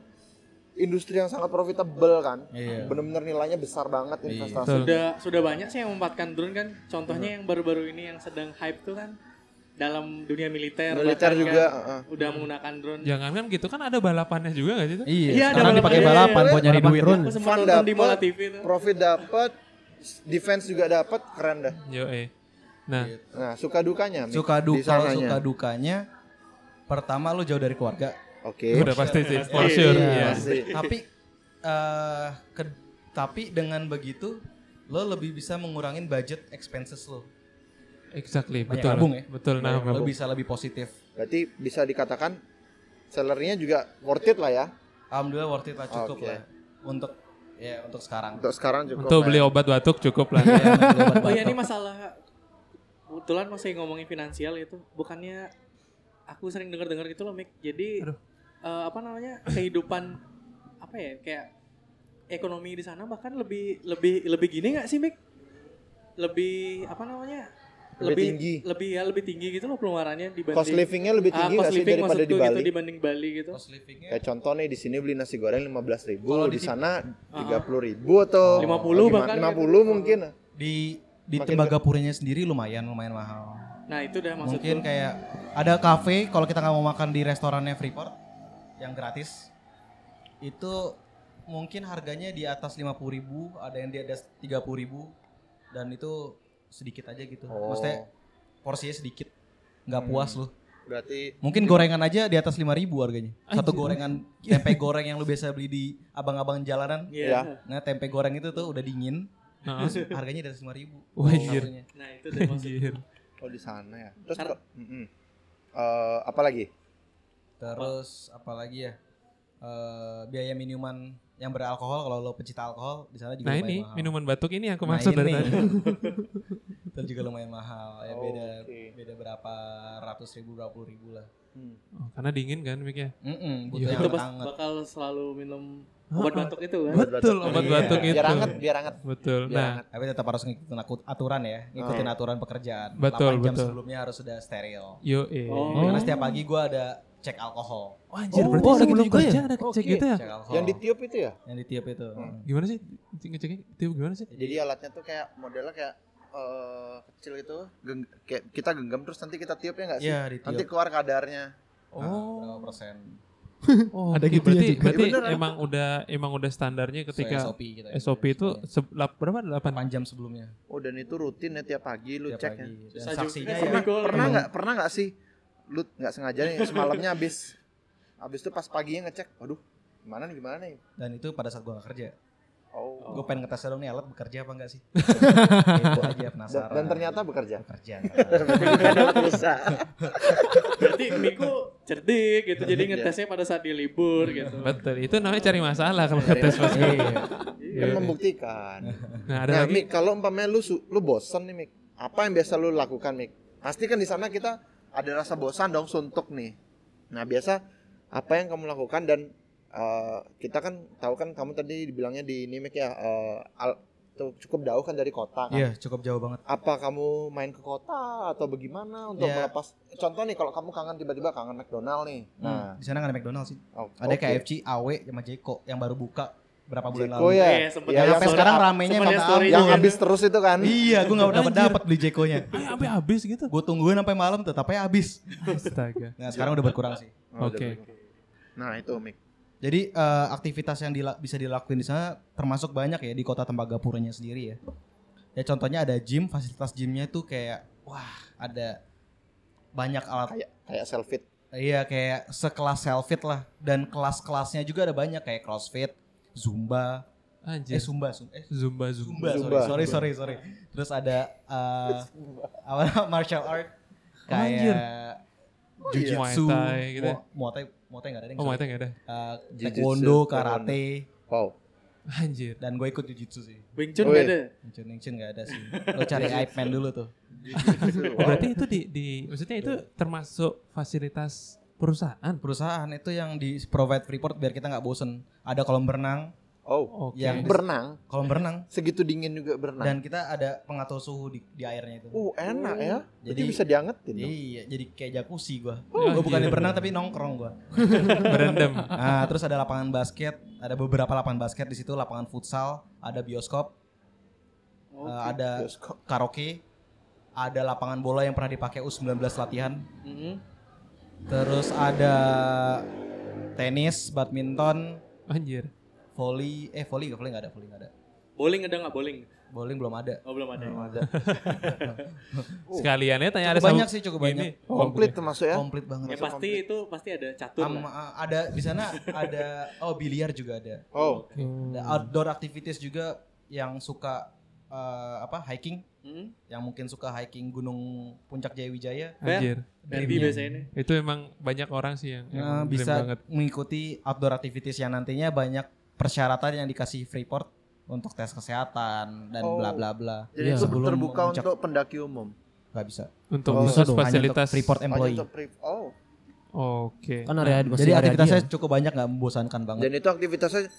[SPEAKER 4] industri yang sangat profitable kan.
[SPEAKER 5] Iya.
[SPEAKER 4] Benar-benar nilainya besar banget investasi.
[SPEAKER 3] Sudah sudah banyak sih yang memanfaatkan drone kan. Contohnya yang baru-baru ini yang sedang hype tuh kan dalam dunia militer. bahkan
[SPEAKER 4] Militer
[SPEAKER 3] kan
[SPEAKER 4] juga, ah, heeh.
[SPEAKER 3] udah menggunakan drone.
[SPEAKER 1] Jangan kan gitu kan ada balapannya juga gak sih tuh?
[SPEAKER 5] Iya,
[SPEAKER 3] Iya,
[SPEAKER 5] sekarang
[SPEAKER 3] ada
[SPEAKER 5] dipakai
[SPEAKER 3] balapan.
[SPEAKER 5] balapan
[SPEAKER 4] Iya,
[SPEAKER 5] buat nyari
[SPEAKER 2] balapan
[SPEAKER 5] duit.
[SPEAKER 2] drone.
[SPEAKER 3] Aku sempat
[SPEAKER 4] Fun
[SPEAKER 3] nonton di Mola
[SPEAKER 4] dapet,
[SPEAKER 3] TV tuh.
[SPEAKER 4] profit dapat, defense juga dapat, keren dah.
[SPEAKER 1] Yo, eh. Nah,
[SPEAKER 5] Iya.
[SPEAKER 4] Nah, suka dukanya Mik,
[SPEAKER 5] Suka
[SPEAKER 4] di
[SPEAKER 5] duka,
[SPEAKER 4] sananya.
[SPEAKER 5] suka dukanya. Pertama lu jauh dari keluarga.
[SPEAKER 4] Oke.
[SPEAKER 1] udah pasti sih, for sure.
[SPEAKER 5] Iya.
[SPEAKER 1] Iya.
[SPEAKER 4] Pasti.
[SPEAKER 5] tapi eh, ke- tapi dengan begitu lo lebih bisa mengurangin budget expenses lo.
[SPEAKER 1] Exactly,
[SPEAKER 5] Banyak
[SPEAKER 1] betul.
[SPEAKER 5] nabung ya.
[SPEAKER 1] Betul, nah,
[SPEAKER 5] Lo bisa lebih positif.
[SPEAKER 4] Berarti bisa dikatakan sellernya juga worth it lah ya.
[SPEAKER 5] Alhamdulillah worth it lah cukup
[SPEAKER 4] Oke.
[SPEAKER 5] lah untuk ya untuk sekarang.
[SPEAKER 4] Untuk sekarang cukup. ya.
[SPEAKER 1] Untuk
[SPEAKER 4] lah.
[SPEAKER 1] beli obat batuk cukup lah.
[SPEAKER 5] Ya, untuk obat
[SPEAKER 3] Oh iya ini
[SPEAKER 5] batuk.
[SPEAKER 3] masalah kebetulan masih ngomongin finansial itu. Bukannya aku sering dengar-dengar gitu loh, Mik. Jadi eh, apa namanya? kehidupan apa ya? Kayak ekonomi di sana bahkan lebih lebih lebih gini nggak sih, Mik? Lebih apa namanya?
[SPEAKER 4] Lebih tinggi.
[SPEAKER 3] Lebih ya lebih tinggi gitu loh pengeluarannya dibanding
[SPEAKER 4] Cost livingnya lebih
[SPEAKER 3] Ah,
[SPEAKER 4] tinggi
[SPEAKER 3] cost
[SPEAKER 4] nggak sih
[SPEAKER 3] living
[SPEAKER 4] daripada di
[SPEAKER 3] maksudku
[SPEAKER 4] Bali?
[SPEAKER 3] gitu dibanding Bali gitu.
[SPEAKER 5] Cost livingnya
[SPEAKER 4] Kayak contoh nih di sini beli nasi goreng 15.000,
[SPEAKER 5] Kalau
[SPEAKER 4] di
[SPEAKER 5] di sini-
[SPEAKER 4] sana 30.000 atau
[SPEAKER 3] 50
[SPEAKER 4] gimana?
[SPEAKER 3] Oh, bahkan
[SPEAKER 4] 50 mungkin.
[SPEAKER 5] di di
[SPEAKER 4] Makin
[SPEAKER 5] Tembagapurinya sendiri lumayan lumayan mahal.
[SPEAKER 3] Nah, itu udah maksud
[SPEAKER 5] Mungkin kayak ada cafe kalau kita nggak mau makan di restorannya Freeport yang gratis itu mungkin harganya di atas 50.000, ada yang di atas 30.000 dan itu sedikit aja gitu.
[SPEAKER 4] Oh.
[SPEAKER 5] Maksudnya porsinya sedikit. nggak puas lu.
[SPEAKER 4] Berarti
[SPEAKER 5] Mungkin gorengan aja di atas 5.000 harganya. Satu gorengan tempe goreng yang lu biasa beli di abang-abang jalanan.
[SPEAKER 3] Iya.
[SPEAKER 4] Ya.
[SPEAKER 5] Nah, tempe goreng itu tuh udah dingin.
[SPEAKER 1] Nah,
[SPEAKER 5] Terus harganya di atas 5.000.
[SPEAKER 1] Wah, anjir.
[SPEAKER 5] Satunya.
[SPEAKER 3] Nah, itu udah maksud.
[SPEAKER 1] anjir.
[SPEAKER 4] oh di sana ya. Terus kok mm-mm. Eh, apa lagi?
[SPEAKER 5] Terus apalagi ya? Eh, biaya minuman yang beralkohol kalau lo pecinta alkohol di sana juga
[SPEAKER 1] Nah
[SPEAKER 5] lumayan
[SPEAKER 1] ini
[SPEAKER 5] mahal.
[SPEAKER 1] minuman batuk ini yang aku
[SPEAKER 5] Nah,
[SPEAKER 1] maksud dari
[SPEAKER 5] ini.
[SPEAKER 1] tadi.
[SPEAKER 5] Itu juga lumayan mahal. Ya
[SPEAKER 4] Oh,
[SPEAKER 5] beda
[SPEAKER 4] oke.
[SPEAKER 5] beda berapa ratus ribu, berapa puluh ribu lah.
[SPEAKER 4] Hmm.
[SPEAKER 1] Oh, karena dingin kan miknya. Iya.
[SPEAKER 5] Mm-mm, butuh
[SPEAKER 3] Itu
[SPEAKER 5] yang
[SPEAKER 3] pas
[SPEAKER 5] hangat.
[SPEAKER 3] bakal selalu minum obat batuk itu kan.
[SPEAKER 1] Betul, obat
[SPEAKER 5] Iya.
[SPEAKER 1] batuk
[SPEAKER 4] Biar
[SPEAKER 1] itu.
[SPEAKER 4] anget, biar anget.
[SPEAKER 1] Betul.
[SPEAKER 4] Biar
[SPEAKER 1] Nah,
[SPEAKER 4] anget.
[SPEAKER 5] Tapi tetap harus ngikutin aku- aturan ya, ngikutin
[SPEAKER 4] Oh.
[SPEAKER 5] aturan pekerjaan.
[SPEAKER 1] Betul,
[SPEAKER 5] 8 jam
[SPEAKER 1] betul.
[SPEAKER 5] sebelumnya harus sudah steril.
[SPEAKER 1] yo eh.
[SPEAKER 3] Oh.
[SPEAKER 5] Karena setiap pagi gua ada cek alkohol.
[SPEAKER 1] Oh, anjir,
[SPEAKER 2] Oh,
[SPEAKER 1] berarti
[SPEAKER 2] ada gitu
[SPEAKER 1] sebelum
[SPEAKER 2] juga
[SPEAKER 1] kerja
[SPEAKER 2] ya?
[SPEAKER 1] ada cek gitu ya?
[SPEAKER 5] Cek alkohol.
[SPEAKER 4] Yang ditiup itu ya?
[SPEAKER 5] yang ditiup itu. Hmm.
[SPEAKER 1] Gimana sih? Ngeceknya tiup gimana sih?
[SPEAKER 4] Jadi ya alatnya tuh kayak modelnya kayak eh, kecil gitu, geng- kayak kita genggam terus nanti kita tiup ya nggak sih?
[SPEAKER 5] Iya, ditiup.
[SPEAKER 4] Nanti keluar kadarnya.
[SPEAKER 5] Nah, berapa
[SPEAKER 1] Oh.
[SPEAKER 5] persen?
[SPEAKER 1] Oh,
[SPEAKER 2] Ada
[SPEAKER 1] oke,
[SPEAKER 2] gitu ya
[SPEAKER 1] berarti,
[SPEAKER 2] juga.
[SPEAKER 1] berarti
[SPEAKER 4] Iya, bener,
[SPEAKER 1] emang udah emang udah standarnya
[SPEAKER 5] Sesuai
[SPEAKER 1] ketika
[SPEAKER 5] SOP kita. ya.
[SPEAKER 1] SOP itu se- lap- berapa? 8
[SPEAKER 5] 8 jam sebelumnya.
[SPEAKER 4] Oh dan itu rutin ya tiap pagi lu
[SPEAKER 5] tiap
[SPEAKER 4] cek ya.
[SPEAKER 5] pagi. Dan
[SPEAKER 3] Susah juga
[SPEAKER 5] saksinya
[SPEAKER 3] sih.
[SPEAKER 5] ya.
[SPEAKER 4] pernah
[SPEAKER 3] Tapi gua-
[SPEAKER 4] pernah nggak pernah nggak sih lu nggak sengaja nih semalamnya habis habis itu pas paginya ngecek waduh gimana nih gimana nih
[SPEAKER 5] Dan itu pada saat gua gak kerja.
[SPEAKER 4] oh,
[SPEAKER 5] Gue pengen ngetes dong nih alat bekerja apa enggak sih? itu aja
[SPEAKER 4] Dan,
[SPEAKER 5] penasaran.
[SPEAKER 4] dan ternyata bekerja
[SPEAKER 5] bekerja.
[SPEAKER 4] bisa
[SPEAKER 3] Berarti Miko cerdik gitu. Jadi
[SPEAKER 5] ya.
[SPEAKER 3] ngetesnya pada saat dia libur gitu.
[SPEAKER 1] Betul. Itu namanya cari masalah kalau
[SPEAKER 5] Iya.
[SPEAKER 1] ngetes pas.
[SPEAKER 2] Iya,
[SPEAKER 4] kan membuktikan
[SPEAKER 1] Nah, ada
[SPEAKER 4] nah
[SPEAKER 1] lagi.
[SPEAKER 4] Mik kalau umpamanya lu su- lu bosen nih Mik apa yang biasa lu lakukan Mik pasti kan di sana kita ada rasa bosan dong suntuk nih nah biasa apa yang kamu lakukan dan eh, kita kan tahu kan kamu tadi dibilangnya di ini Mik ya eh, al- tuh cukup jauh kan dari kota kan
[SPEAKER 5] Iya, cukup jauh banget.
[SPEAKER 4] apa kamu main ke kota atau bagaimana untuk
[SPEAKER 5] Ya.
[SPEAKER 1] Iya.
[SPEAKER 4] melepas contoh nih kalau kamu kangen tiba-tiba kangen McDonald nih
[SPEAKER 5] Nah,
[SPEAKER 1] Hmm.
[SPEAKER 4] nah
[SPEAKER 5] di sana nggak ada McDonald's sih.
[SPEAKER 4] oh,
[SPEAKER 5] Ada
[SPEAKER 4] oke.
[SPEAKER 5] KFC, AW sama Jeko yang baru buka berapa bulan
[SPEAKER 4] Jeko
[SPEAKER 5] lalu.
[SPEAKER 4] ya,
[SPEAKER 3] Iya, sempet
[SPEAKER 4] ya
[SPEAKER 5] Yang
[SPEAKER 4] yang,
[SPEAKER 5] sampai sekarang ramenya
[SPEAKER 3] sempet
[SPEAKER 5] minta
[SPEAKER 3] liat story.
[SPEAKER 5] ampun.
[SPEAKER 4] yang
[SPEAKER 3] Iya.
[SPEAKER 4] habis terus itu kan
[SPEAKER 5] Iya, gue nggak dapat dapat beli Jekonya.
[SPEAKER 1] Ah, sampai habis gitu.
[SPEAKER 5] Gue tungguin sampai malam tetapnya habis.
[SPEAKER 1] Astaga.
[SPEAKER 5] Nah, sekarang udah berkurang sih.
[SPEAKER 4] Oh, udah
[SPEAKER 1] Oke.
[SPEAKER 4] bagus. nah itu Mik
[SPEAKER 5] Jadi eh, aktivitas yang dila- bisa dilakuin di sana termasuk banyak ya di kota Tembagapuranya sendiri ya. Ya contohnya ada gym, fasilitas gymnya tuh kayak wah ada banyak alat.
[SPEAKER 4] kayak kayak selfie
[SPEAKER 5] Iya kayak sekelas selfit lah dan kelas-kelasnya juga ada banyak kayak crossfit, zumba,
[SPEAKER 1] Anjir.
[SPEAKER 5] Eh Sumba, Sumba. Eh,
[SPEAKER 1] Zumba, Zumba.
[SPEAKER 5] Zumba, sorry,
[SPEAKER 4] Zumba.
[SPEAKER 5] sorry, sorry, sorry. Terus ada eh, apa namanya, martial art
[SPEAKER 1] Oh, anjir. Oh, iya.
[SPEAKER 5] kayak
[SPEAKER 1] Muay
[SPEAKER 5] jujitsu,
[SPEAKER 1] Thai gitu ya?
[SPEAKER 5] Mu- Muay Thai, Muay Thai nggak ada yang
[SPEAKER 1] Oh, Muay Thai nggak ada.
[SPEAKER 4] Jujitsu,
[SPEAKER 5] taekwondo,
[SPEAKER 4] taekwondo.
[SPEAKER 5] karate,
[SPEAKER 4] Wow.
[SPEAKER 1] Anjir.
[SPEAKER 5] dan gue ikut jujitsu sih.
[SPEAKER 3] Wing Chun
[SPEAKER 4] Woi.
[SPEAKER 3] gak ada.
[SPEAKER 5] Incun Incun nggak ada sih. Lo cari
[SPEAKER 4] Iya,
[SPEAKER 5] Ip Man dulu tuh.
[SPEAKER 4] Jujitsu, wow.
[SPEAKER 1] Oh, Berarti itu di, di maksudnya itu termasuk fasilitas perusahaan.
[SPEAKER 5] Perusahaan itu yang di provide Freeport biar kita nggak bosen. Ada kolam berenang,
[SPEAKER 4] Oh.
[SPEAKER 1] Oke.
[SPEAKER 5] Yang-
[SPEAKER 4] Berenang,
[SPEAKER 5] kolam berenang,
[SPEAKER 4] segitu dingin juga berenang.
[SPEAKER 5] dan kita ada pengatur suhu di, di airnya itu.
[SPEAKER 4] Uh, enak ya. Jadi
[SPEAKER 5] Jadi-
[SPEAKER 4] bisa diangetin dong.
[SPEAKER 5] Iya, jadi kayak jacuzzi gua.
[SPEAKER 1] Oh,
[SPEAKER 5] gua bukan
[SPEAKER 1] iya. Ah,
[SPEAKER 5] berenang tapi nongkrong gua.
[SPEAKER 1] berendam.
[SPEAKER 5] Nah, terus ada lapangan basket, ada beberapa lapangan basket di situ, lapangan futsal, ada bioskop,
[SPEAKER 3] Oh,
[SPEAKER 5] eh, ada
[SPEAKER 4] Bioskop.
[SPEAKER 5] karaoke, ada lapangan bola yang pernah dipakai U19 latihan,
[SPEAKER 3] Mhm.
[SPEAKER 5] terus ada tenis, badminton,
[SPEAKER 1] Anjir.
[SPEAKER 5] volley, eh volley nggak volley nggak ada, volley nggak ada.
[SPEAKER 3] Bowling ada nggak bowling?
[SPEAKER 5] Bowling belum ada.
[SPEAKER 3] Oh belum ada.
[SPEAKER 5] Belum
[SPEAKER 3] ya?
[SPEAKER 5] ada.
[SPEAKER 1] Sekaliannya ya, tanya ada Oh,
[SPEAKER 5] Cukup banyak sih, cukup banyak.
[SPEAKER 1] iya.
[SPEAKER 4] Komplit termasuk ya.
[SPEAKER 5] Komplit banget.
[SPEAKER 3] Ya pasti itu pasti ada catur.
[SPEAKER 5] Am-
[SPEAKER 3] lah.
[SPEAKER 5] a- ada di sana ada oh biliar juga ada.
[SPEAKER 4] Oh,
[SPEAKER 5] Ada
[SPEAKER 1] Hmm.
[SPEAKER 5] outdoor activities juga yang suka eh, apa hiking,
[SPEAKER 3] Mhm.
[SPEAKER 5] yang mungkin suka hiking Gunung Puncak Jayawijaya.
[SPEAKER 1] Anjir.
[SPEAKER 3] Derby
[SPEAKER 5] Derby.
[SPEAKER 3] biasanya ini.
[SPEAKER 1] Itu emang banyak orang sih yang
[SPEAKER 5] Nah,
[SPEAKER 1] emang Hmm, dream
[SPEAKER 5] bisa
[SPEAKER 1] banget.
[SPEAKER 5] mengikuti outdoor activities yang nantinya banyak persyaratan yang dikasih Freeport untuk tes kesehatan dan
[SPEAKER 4] Oh.
[SPEAKER 5] bla bla bla.
[SPEAKER 4] jadi
[SPEAKER 2] Iya.
[SPEAKER 4] itu
[SPEAKER 5] Sebelum
[SPEAKER 4] terbuka
[SPEAKER 5] memuncak.
[SPEAKER 4] untuk pendaki umum.
[SPEAKER 5] Gak bisa.
[SPEAKER 1] untuk
[SPEAKER 4] Oh,
[SPEAKER 1] khusus
[SPEAKER 2] bisa dong, hanya
[SPEAKER 1] fasilitas
[SPEAKER 5] Untuk Freeport
[SPEAKER 4] Hanya
[SPEAKER 5] employee.
[SPEAKER 4] untuk priv- Oh,
[SPEAKER 1] Oke.
[SPEAKER 2] Kan area masih
[SPEAKER 5] Jadi
[SPEAKER 2] area
[SPEAKER 5] aktivitasnya
[SPEAKER 2] dia.
[SPEAKER 5] cukup banyak nggak membosankan banget.
[SPEAKER 4] dan itu aktivitasnya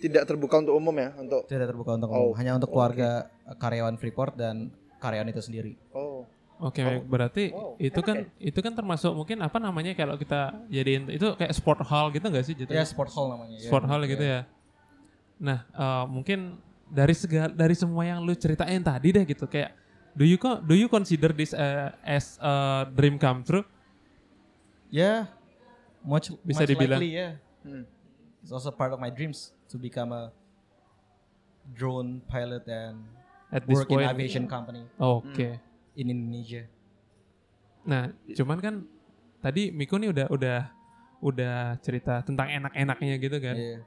[SPEAKER 4] tidak terbuka untuk umum ya, untuk
[SPEAKER 5] Tidak terbuka untuk
[SPEAKER 4] Oh,
[SPEAKER 5] umum, hanya untuk keluarga eh, karyawan Freeport dan karyawan itu sendiri.
[SPEAKER 4] oh,
[SPEAKER 1] Oke, baik.
[SPEAKER 4] Oh.
[SPEAKER 1] berarti
[SPEAKER 4] Wow,
[SPEAKER 1] itu
[SPEAKER 4] enak
[SPEAKER 1] kan itu kan termasuk mungkin apa namanya kalau kita jadiin itu kayak sport hall gitu enggak sih
[SPEAKER 5] Ya
[SPEAKER 1] jatuhnya?
[SPEAKER 5] sport hall namanya. ya.
[SPEAKER 1] sport hall gitu ya. Nah, eh, mungkin dari segala dari semua yang lu ceritain tadi deh gitu kayak do you co- do you consider this eh, as a dream come true?
[SPEAKER 5] Ya, much
[SPEAKER 1] Bisa
[SPEAKER 5] much
[SPEAKER 1] dibilang.
[SPEAKER 5] likely, ya.
[SPEAKER 4] Hmm.
[SPEAKER 5] It's also part of my dreams to become a drone pilot and
[SPEAKER 1] At this
[SPEAKER 5] work in
[SPEAKER 1] point.
[SPEAKER 5] aviation Hmm. company
[SPEAKER 1] Oke.
[SPEAKER 5] in Indonesia.
[SPEAKER 1] Nah, cuman kan tadi Miko nih udah udah udah cerita tentang enak-enaknya gitu kan.
[SPEAKER 5] Iya.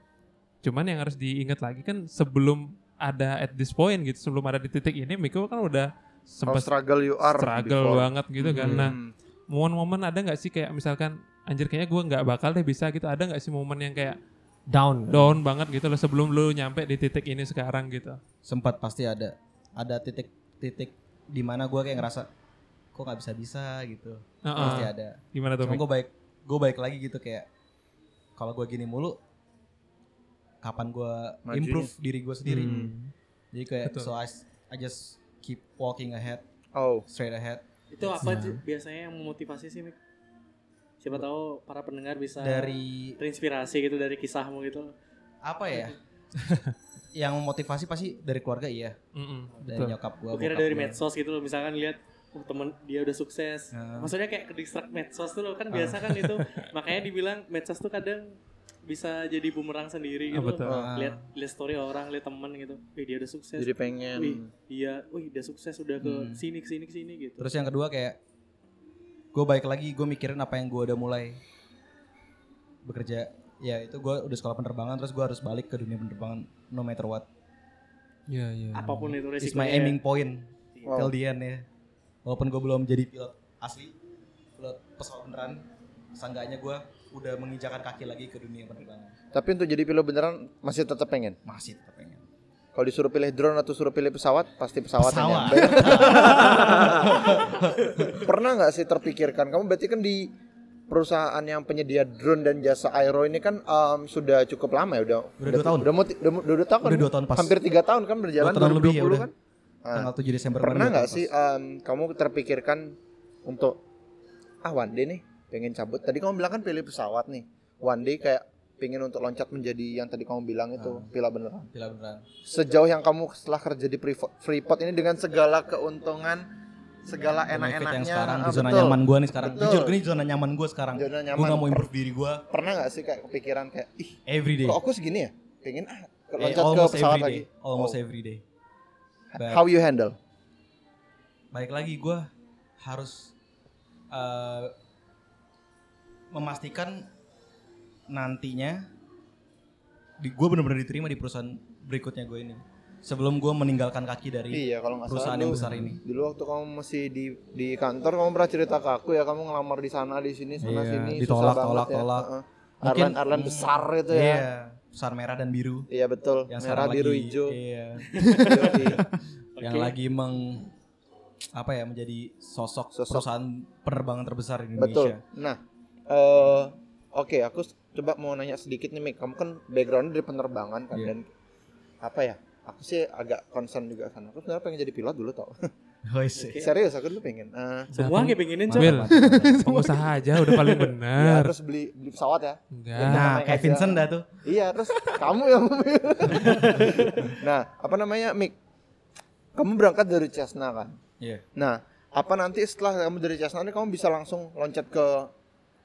[SPEAKER 1] Cuman yang harus diingat lagi kan sebelum ada at this point gitu, sebelum ada di titik ini Miko kan udah
[SPEAKER 4] How
[SPEAKER 1] sempat
[SPEAKER 4] Oh, struggle you are
[SPEAKER 1] struggle
[SPEAKER 4] before.
[SPEAKER 1] banget gitu kan. Nah,
[SPEAKER 4] Hmm.
[SPEAKER 1] momen-momen ada nggak sih kayak misalkan anjir kayaknya gue nggak bakal deh bisa gitu. Ada nggak sih momen yang kayak
[SPEAKER 2] down.
[SPEAKER 1] down banget gitu loh sebelum lu nyampe di titik ini sekarang gitu.
[SPEAKER 5] Sempat pasti ada ada titik-titik di mana gue kayak ngerasa kok nggak bisa bisa gitu.
[SPEAKER 1] Heeh.
[SPEAKER 5] Pasti ada.
[SPEAKER 1] Gimana tuh?
[SPEAKER 5] Cuma
[SPEAKER 1] Mik?
[SPEAKER 5] gue baik gue baik lagi gitu kayak kalau gue gini mulu kapan gue
[SPEAKER 4] Majunya.
[SPEAKER 5] improve diri gue sendiri.
[SPEAKER 1] Hmm.
[SPEAKER 5] Jadi kayak
[SPEAKER 1] Betul.
[SPEAKER 5] so I, s- I just keep walking ahead,
[SPEAKER 4] Oh,
[SPEAKER 5] straight ahead
[SPEAKER 3] Itu apa sih biasanya yang memotivasi sih, Mik? Siapa tahu para pendengar bisa
[SPEAKER 5] dari
[SPEAKER 3] terinspirasi gitu dari kisahmu gitu.
[SPEAKER 5] apa ya? yang memotivasi pasti dari keluarga iya,
[SPEAKER 1] Mm-mm,
[SPEAKER 5] dari
[SPEAKER 1] betul.
[SPEAKER 5] nyokap gue.
[SPEAKER 3] Gue kira dari medsos gitu loh, misalkan lihat oh, temen dia udah sukses.
[SPEAKER 5] Nah.
[SPEAKER 3] Maksudnya kayak ke distract medsos tuh loh, kan biasa kan itu. Makanya dibilang medsos tuh kadang bisa jadi bumerang sendiri
[SPEAKER 1] Ah,
[SPEAKER 3] gitu.
[SPEAKER 1] betul.
[SPEAKER 3] loh. Lihat lihat story orang, lihat temen gitu. Wih, dia udah sukses.
[SPEAKER 4] jadi pengen
[SPEAKER 3] Wih, dia wih, udah sukses udah ke
[SPEAKER 5] Hmm.
[SPEAKER 3] sini ke sini ke sini gitu.
[SPEAKER 5] Terus yang kedua kayak gue balik lagi gue mikirin apa yang gue udah mulai bekerja ya itu gue udah sekolah penerbangan terus gue harus balik ke dunia penerbangan no matter what
[SPEAKER 1] Iya, iya.
[SPEAKER 3] Apapun itu
[SPEAKER 5] it's
[SPEAKER 3] resikonya. ya.
[SPEAKER 5] my aiming point
[SPEAKER 4] Wow.
[SPEAKER 5] till the end ya walaupun gue belum jadi pilot asli pilot pesawat beneran seenggaknya gue udah menginjakan kaki lagi ke dunia penerbangan
[SPEAKER 4] Tapi untuk jadi pilot beneran masih tetap pengen.
[SPEAKER 5] masih tetap pengen
[SPEAKER 4] Kalau disuruh pilih drone atau suruh pilih pesawat, pasti pesawat. yang
[SPEAKER 5] Pesawat.
[SPEAKER 4] nyampe. Pernah nggak sih terpikirkan? Kamu berarti kan di perusahaan yang penyedia drone dan jasa aero ini kan em, sudah cukup lama ya udah
[SPEAKER 5] Udah dua tahun.
[SPEAKER 4] udah mau ti- udah, mau- udah dua tahun
[SPEAKER 5] Udah dua tahun pas.
[SPEAKER 4] hampir tiga tahun kan berjalan
[SPEAKER 5] Dua tahun lebih ya
[SPEAKER 4] 2020
[SPEAKER 5] udah.
[SPEAKER 4] kan Ah.
[SPEAKER 5] tanggal 7 Desember
[SPEAKER 4] pernah
[SPEAKER 5] kemarin
[SPEAKER 4] nggak
[SPEAKER 5] pas.
[SPEAKER 4] sih em, kamu terpikirkan untuk ah one day nih pengen cabut tadi kamu bilang kan pilih pesawat nih one day kayak pengen untuk loncat menjadi yang tadi kamu bilang
[SPEAKER 5] Ah.
[SPEAKER 4] itu pilot beneran
[SPEAKER 5] Gila beneran
[SPEAKER 4] sejauh yang kamu setelah kerja di Freeport, Freeport ini dengan segala keuntungan, segala
[SPEAKER 5] Benefit yang
[SPEAKER 4] enak-enaknya,
[SPEAKER 5] sekarang
[SPEAKER 4] ah,
[SPEAKER 5] di zona
[SPEAKER 4] betul.
[SPEAKER 5] nyaman gue nih sekarang
[SPEAKER 4] Betul.
[SPEAKER 5] jujur ini zona nyaman gue sekarang
[SPEAKER 4] Zona
[SPEAKER 5] gue
[SPEAKER 4] nyaman.
[SPEAKER 5] gak mau improve diri gue
[SPEAKER 4] Pernah nggak sih kayak kepikiran kayak, ih
[SPEAKER 5] every day
[SPEAKER 4] kok aku segini ya? Pengen ah
[SPEAKER 5] Eh,
[SPEAKER 4] loncat ke
[SPEAKER 5] almost
[SPEAKER 4] pesawat
[SPEAKER 5] every
[SPEAKER 4] lagi.
[SPEAKER 5] day. almost
[SPEAKER 4] Oh.
[SPEAKER 5] every day But
[SPEAKER 4] How you handle?
[SPEAKER 5] balik lagi gue harus eh, memastikan nantinya di gue bener-bener diterima di perusahaan berikutnya gue ini. Sebelum gue meninggalkan kaki dari
[SPEAKER 4] Iya kalau nggak salah
[SPEAKER 5] perusahaan yang
[SPEAKER 4] dulu-
[SPEAKER 5] besar ini.
[SPEAKER 4] Dulu waktu kamu masih di di kantor kamu pernah cerita ke aku ya kamu ngelamar di sana di sini sana
[SPEAKER 5] Iya,
[SPEAKER 4] sini
[SPEAKER 5] ditolak,
[SPEAKER 4] banget
[SPEAKER 5] tolak,
[SPEAKER 4] ya.
[SPEAKER 5] tolak.
[SPEAKER 4] Heeh.
[SPEAKER 5] Mungkin-
[SPEAKER 4] Arlan Arlan besar itu ya.
[SPEAKER 5] Iya, besar merah dan biru.
[SPEAKER 4] Iya betul.
[SPEAKER 5] Yang
[SPEAKER 4] Merah
[SPEAKER 5] sekarang
[SPEAKER 4] biru
[SPEAKER 5] lagi-
[SPEAKER 4] hijau.
[SPEAKER 5] Iya.
[SPEAKER 4] Yoi.
[SPEAKER 5] Yang lagi meng apa ya menjadi sosok,
[SPEAKER 4] Sosok.
[SPEAKER 5] perusahaan penerbangan terbesar di
[SPEAKER 4] betul.
[SPEAKER 5] Indonesia.
[SPEAKER 4] Nah, eh oke aku s- coba mau nanya sedikit nih Mik. Kamu kan background dari penerbangan kan
[SPEAKER 5] Iya.
[SPEAKER 4] dan apa ya? Aku sih agak concern juga sana. Aku sebenarnya pengen jadi pilot dulu tau.
[SPEAKER 5] Woi, sih.
[SPEAKER 3] Oke.
[SPEAKER 4] Serius aku dulu pengen. Eh,
[SPEAKER 3] Semua kayak pengenin
[SPEAKER 1] Mantap.
[SPEAKER 3] coba.
[SPEAKER 1] Bil. pengusaha aja udah paling
[SPEAKER 4] ya,
[SPEAKER 5] Iya.
[SPEAKER 1] bener.
[SPEAKER 4] terus beli beli pesawat ya.
[SPEAKER 1] Enggak.
[SPEAKER 5] Nah,
[SPEAKER 4] Namanya
[SPEAKER 5] kayak
[SPEAKER 4] aja.
[SPEAKER 5] Vincent dah tuh.
[SPEAKER 4] Iya, terus kamu yang memilih. nah, apa namanya, Mik? Kamu berangkat dari Cessna kan?
[SPEAKER 5] Iya.
[SPEAKER 4] Nah, apa nanti setelah kamu dari Cessna ini kamu bisa langsung loncat ke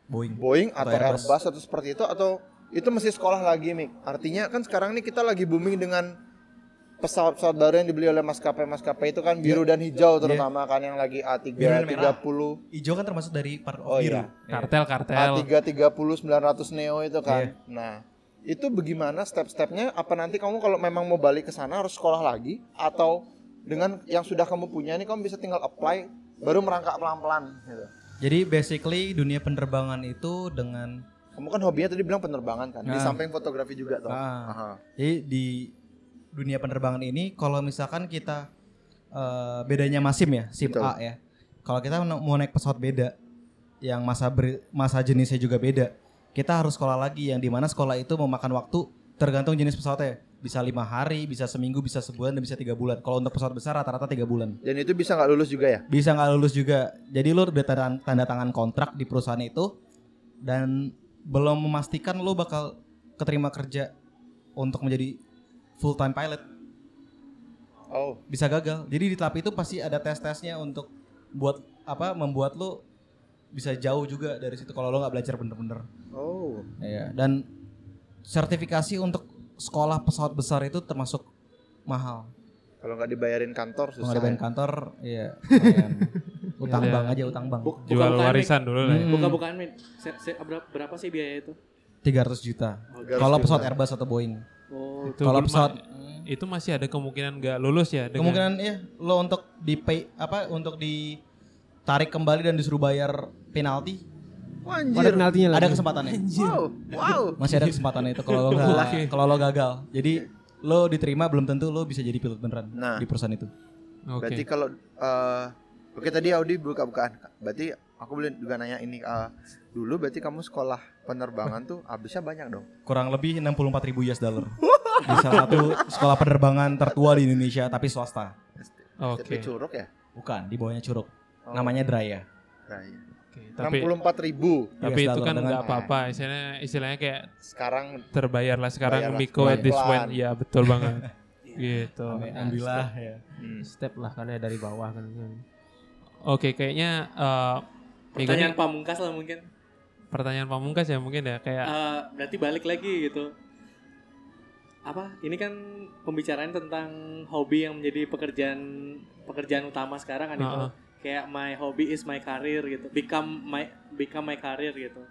[SPEAKER 5] Boeing.
[SPEAKER 4] Boeing atau,
[SPEAKER 5] Atau Airbus.
[SPEAKER 4] Airbus. atau seperti itu atau itu mesti sekolah lagi, Mik? Artinya kan sekarang ini kita lagi booming dengan pesawat-pesawat baru yang dibeli oleh maskapai-maskapai itu kan biru dan hijau terutama kan yang lagi
[SPEAKER 5] Iya. Biru dan
[SPEAKER 4] A330
[SPEAKER 5] merah. Hijau kan termasuk dari part of
[SPEAKER 4] Oh,
[SPEAKER 5] biru.
[SPEAKER 4] iya.
[SPEAKER 1] Kartel, kartel.
[SPEAKER 4] A330 900 Neo itu
[SPEAKER 5] Iya.
[SPEAKER 4] kan. Nah, itu bagaimana step-stepnya? Apa nanti kamu kalau memang mau balik ke sana harus sekolah lagi atau dengan yang sudah kamu punya ini kamu bisa tinggal apply baru merangkak pelan-pelan gitu.
[SPEAKER 5] Jadi basically dunia penerbangan itu dengan
[SPEAKER 4] Kamu kan hobinya tadi bilang penerbangan kan, di
[SPEAKER 5] Nah.
[SPEAKER 4] samping fotografi juga toh.
[SPEAKER 5] Ah.
[SPEAKER 4] Aha.
[SPEAKER 5] Jadi di dunia penerbangan ini kalau misalkan kita eh, bedanya masim ya, sim
[SPEAKER 4] Betul.
[SPEAKER 5] A ya. Kalau kita na- mau naik pesawat beda yang masa beri- masa jenisnya juga beda. Kita harus sekolah lagi yang dimana sekolah itu memakan waktu tergantung jenis pesawatnya. Bisa lima hari, bisa seminggu, bisa sebulan, dan bisa tiga bulan. Kalau untuk pesawat besar rata-rata tiga bulan.
[SPEAKER 4] Dan itu bisa nggak lulus juga ya?
[SPEAKER 5] bisa nggak lulus juga. Jadi lu udah tanda, tanda tangan kontrak di perusahaan itu dan belum memastikan lu bakal keterima kerja untuk menjadi full time pilot
[SPEAKER 4] Oh,
[SPEAKER 5] bisa gagal. Jadi di tahap itu pasti ada tes-tesnya untuk buat apa membuat lu bisa jauh juga dari situ kalau lu nggak belajar bener-bener.
[SPEAKER 4] oh.
[SPEAKER 5] Iya, dan sertifikasi untuk sekolah pesawat besar itu termasuk mahal.
[SPEAKER 4] Kalau nggak dibayarin kantor susah.
[SPEAKER 5] Pengadaan
[SPEAKER 4] ya.
[SPEAKER 5] kantor, iya. lumayan. utang
[SPEAKER 1] Iya.
[SPEAKER 5] bank aja utang bank.
[SPEAKER 3] Buk-
[SPEAKER 1] Jual
[SPEAKER 3] buka-bukaan, Mik.
[SPEAKER 1] warisan dulu lah ya.
[SPEAKER 5] Hmm.
[SPEAKER 3] Buka-bukaan Mik. Se- se- berapa- Berapa sih biaya itu?
[SPEAKER 5] 300 juta.
[SPEAKER 4] Harus
[SPEAKER 5] Kalau
[SPEAKER 4] dibayarin.
[SPEAKER 5] pesawat Airbus atau Boeing.
[SPEAKER 3] Oh,
[SPEAKER 1] Itu
[SPEAKER 5] Kalau
[SPEAKER 1] belum-
[SPEAKER 5] Hmm. pesawat
[SPEAKER 1] itu masih ada kemungkinan nggak lulus ya dengan
[SPEAKER 5] kemungkinan ya lo untuk di pay apa untuk ditarik kembali dan disuruh bayar penalti
[SPEAKER 4] Wah, anjir.
[SPEAKER 2] Ada penaltinya lagi.
[SPEAKER 5] ada kesempatannya.
[SPEAKER 4] Wow, wow.
[SPEAKER 5] Masih ada kesempatannya itu kalau lo
[SPEAKER 1] Oke.
[SPEAKER 5] nggak- kalau lo gagal. Jadi lo diterima belum tentu lo bisa jadi pilot beneran
[SPEAKER 4] Nah.
[SPEAKER 5] di perusahaan itu.
[SPEAKER 1] Oke.
[SPEAKER 4] Berarti kalau eh, oke tadi Audi buka-bukaan. Berarti aku boleh juga nanya ini eh, dulu berarti kamu sekolah penerbangan tuh habisnya banyak dong.
[SPEAKER 5] Kurang lebih 64 ribu US dollar. di salah satu sekolah penerbangan tertua di Indonesia tapi swasta.
[SPEAKER 1] Oke.
[SPEAKER 4] Tapi curug ya.
[SPEAKER 5] Bukan, di bawahnya Curug.
[SPEAKER 4] Oh.
[SPEAKER 5] Namanya Draya.
[SPEAKER 4] Nah, iya.
[SPEAKER 1] Oke, Tapi
[SPEAKER 4] 64.000 ribu
[SPEAKER 1] tapi itu
[SPEAKER 5] US dollar
[SPEAKER 1] kan
[SPEAKER 5] Iya, dengan-
[SPEAKER 1] nggak apa-apa. Istilahnya istilahnya kayak
[SPEAKER 4] sekarang
[SPEAKER 1] terbayar lah sekarang
[SPEAKER 4] Bayar lah
[SPEAKER 1] Miko at this
[SPEAKER 4] pelan-pelan.
[SPEAKER 1] point. Iya, betul banget. gitu.
[SPEAKER 5] Alhamdulillah ya.
[SPEAKER 4] hmm,
[SPEAKER 2] Step lah karena dari bawah kan.
[SPEAKER 1] Oke, kayaknya eh, Miko ini
[SPEAKER 3] pertanyaan pamungkas lah mungkin.
[SPEAKER 1] pertanyaan pamungkas ya mungkin ya kayak
[SPEAKER 3] Eh, berarti balik lagi gitu. Apa? Ini kan pembicaraan tentang hobi yang menjadi pekerjaan pekerjaan utama sekarang kan itu.
[SPEAKER 1] Heeh.
[SPEAKER 3] Kayak my hobby is my career gitu. Become my become my career gitu.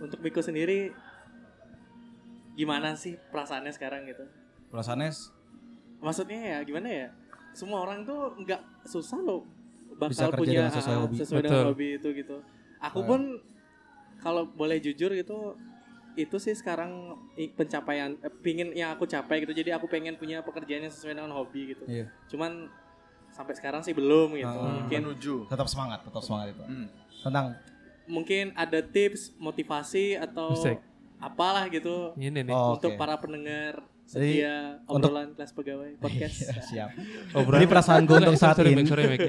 [SPEAKER 3] Untuk Miko sendiri gimana sih perasaannya sekarang gitu?
[SPEAKER 5] Perasaannya
[SPEAKER 3] Maksudnya ya gimana ya? Semua orang tuh nggak susah loh bakal
[SPEAKER 5] Bisa kerja
[SPEAKER 3] punya
[SPEAKER 5] dengan sesuai
[SPEAKER 3] ah,
[SPEAKER 5] hobi.
[SPEAKER 3] sesuai dengan
[SPEAKER 1] Betul.
[SPEAKER 3] hobi itu gitu. Aku
[SPEAKER 5] Ah.
[SPEAKER 3] pun kalau boleh jujur gitu itu sih sekarang i- pencapaian eh, pingin yang aku capai gitu. Jadi aku pengen punya pekerjaan yang sesuai dengan hobi gitu.
[SPEAKER 5] Iya.
[SPEAKER 3] Cuman sampai sekarang sih belum gitu.
[SPEAKER 5] Ah.
[SPEAKER 3] Mungkin
[SPEAKER 4] menuju.
[SPEAKER 5] tetap semangat, tetap semangat itu.
[SPEAKER 4] Hmm.
[SPEAKER 5] Tentang
[SPEAKER 3] mungkin ada tips, motivasi atau
[SPEAKER 1] Musik.
[SPEAKER 3] apalah gitu
[SPEAKER 1] ini nih.
[SPEAKER 5] Oh,
[SPEAKER 3] untuk
[SPEAKER 5] oke.
[SPEAKER 3] para pendengar
[SPEAKER 5] Jadi,
[SPEAKER 3] setia
[SPEAKER 5] untuk-
[SPEAKER 3] obrolan kelas pegawai podcast.
[SPEAKER 5] Iya, siap.
[SPEAKER 1] Obrolan-
[SPEAKER 5] Jadi perasaan gue untuk
[SPEAKER 1] Sorry,
[SPEAKER 5] saat
[SPEAKER 1] Oh, sorry,
[SPEAKER 5] ini.
[SPEAKER 1] Mik, sorry, Mik.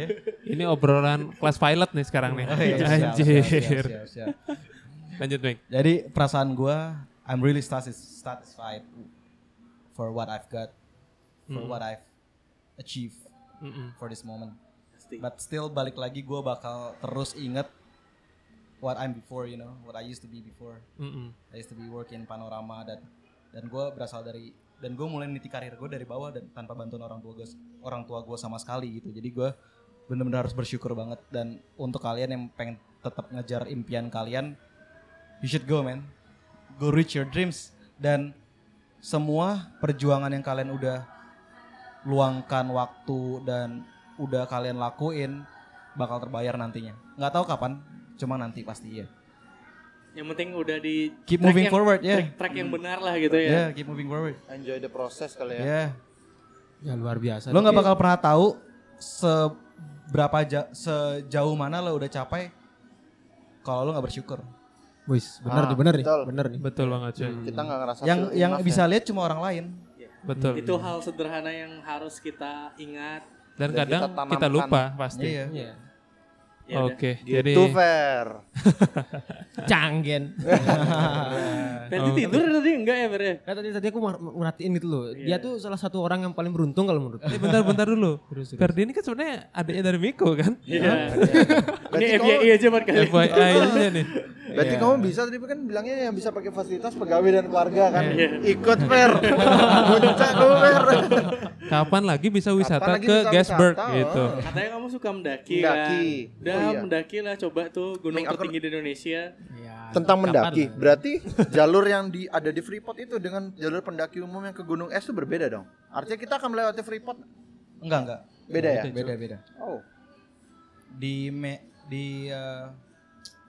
[SPEAKER 1] Ini obrolan kelas pilot nih sekarang nih.
[SPEAKER 5] Oh, iya, siap,
[SPEAKER 1] Anjir.
[SPEAKER 5] siap, siap, siap, siap.
[SPEAKER 1] Lanjut, Mik.
[SPEAKER 5] Jadi perasaan gue, I'm really satis- satisfied for what I've got, for what I've achieved
[SPEAKER 1] Mm-mm.
[SPEAKER 5] for this moment.
[SPEAKER 3] Pasti.
[SPEAKER 5] But still balik lagi gue bakal terus inget what I'm before, you know, what I used to be before.
[SPEAKER 1] Mm-mm.
[SPEAKER 5] I used to be working panorama dan dan gue berasal dari dan gue mulai meniti karir gue dari bawah dan tanpa bantuan orang tua gue orang tua gue sama sekali gitu jadi gue bener-bener harus bersyukur banget dan untuk kalian yang pengen tetap ngejar impian kalian you should go man go reach your dreams dan semua perjuangan yang kalian udah luangkan waktu dan udah kalian lakuin bakal terbayar nantinya. Nggak tahu kapan, cuma nanti pasti ya.
[SPEAKER 3] Yang penting udah di
[SPEAKER 5] Keep
[SPEAKER 3] track
[SPEAKER 5] moving
[SPEAKER 3] yang-
[SPEAKER 5] forward, ya.
[SPEAKER 3] track, track yang benar lah gitu
[SPEAKER 5] Ya,
[SPEAKER 3] ya.
[SPEAKER 5] keep moving forward.
[SPEAKER 4] Enjoy the process kali
[SPEAKER 5] Ya.
[SPEAKER 4] ya.
[SPEAKER 2] Ya luar biasa.
[SPEAKER 5] Lo nggak
[SPEAKER 2] Tapi
[SPEAKER 5] bakal pernah tahu seberapa ja- sejauh mana lo udah capai kalau lo nggak bersyukur.
[SPEAKER 2] Wis, benar
[SPEAKER 4] Ah,
[SPEAKER 2] nih, benar nih.
[SPEAKER 4] betul.
[SPEAKER 2] Bener nih.
[SPEAKER 1] Betul banget cuy.
[SPEAKER 5] Hmm.
[SPEAKER 4] Kita nggak ngerasa
[SPEAKER 5] yang
[SPEAKER 4] feel
[SPEAKER 5] yang
[SPEAKER 4] enough
[SPEAKER 5] bisa
[SPEAKER 4] ya.
[SPEAKER 5] lihat cuma orang lain.
[SPEAKER 1] Betul.
[SPEAKER 3] Itu hal sederhana yang harus kita ingat.
[SPEAKER 1] Dan
[SPEAKER 4] Dan
[SPEAKER 1] kadang
[SPEAKER 4] kita
[SPEAKER 1] kita,
[SPEAKER 4] tanamkan.
[SPEAKER 1] lupa pasti.
[SPEAKER 5] Iya.
[SPEAKER 2] Iya.
[SPEAKER 3] Ya udah.
[SPEAKER 1] Oke, jadi
[SPEAKER 4] Gitu fair.
[SPEAKER 2] Canggen.
[SPEAKER 5] Uh, oh.
[SPEAKER 3] Berarti tidur tadi enggak ya Fer ya?
[SPEAKER 2] Nah, tadi tadi aku mer- merhatiin gitu loh. Dia tuh salah satu orang yang paling beruntung kalau menurut.
[SPEAKER 1] Eh, bentar-bentar dulu. Ferdi ini kan sebenarnya adiknya dari Miko kan?
[SPEAKER 3] Iya. Ini
[SPEAKER 4] Berarti
[SPEAKER 3] FBI aja buat
[SPEAKER 5] Iya,
[SPEAKER 3] kalian.
[SPEAKER 1] FYI aja nih.
[SPEAKER 4] Berarti kamu bisa tadi kan bilangnya yang bisa pakai fasilitas pegawai dan keluarga kan.
[SPEAKER 3] Iya.
[SPEAKER 4] Ikut fair. Puncak lu fair.
[SPEAKER 1] Kapan lagi bisa wisata
[SPEAKER 4] lagi
[SPEAKER 1] ke
[SPEAKER 4] bisa
[SPEAKER 1] Gasberg
[SPEAKER 4] wisata?
[SPEAKER 1] gitu?
[SPEAKER 5] oh.
[SPEAKER 3] Katanya kamu suka mendaki,
[SPEAKER 4] Mendaki.
[SPEAKER 3] kan? Udah
[SPEAKER 4] Oh, iya.
[SPEAKER 3] mendaki lah coba tuh gunung
[SPEAKER 4] Ming, aku-
[SPEAKER 3] tertinggi di Indonesia.
[SPEAKER 2] Iya.
[SPEAKER 4] Tentang
[SPEAKER 2] kapan
[SPEAKER 4] mendaki.
[SPEAKER 2] lah?
[SPEAKER 4] Berarti jalur yang di ada di Freeport itu dengan jalur pendaki umum yang ke Gunung Es itu berbeda dong. Artinya kita akan melewati Freeport
[SPEAKER 5] Enggak, enggak.
[SPEAKER 4] beda ya?
[SPEAKER 5] Beda, beda.
[SPEAKER 4] Oh.
[SPEAKER 5] Di me, di eh,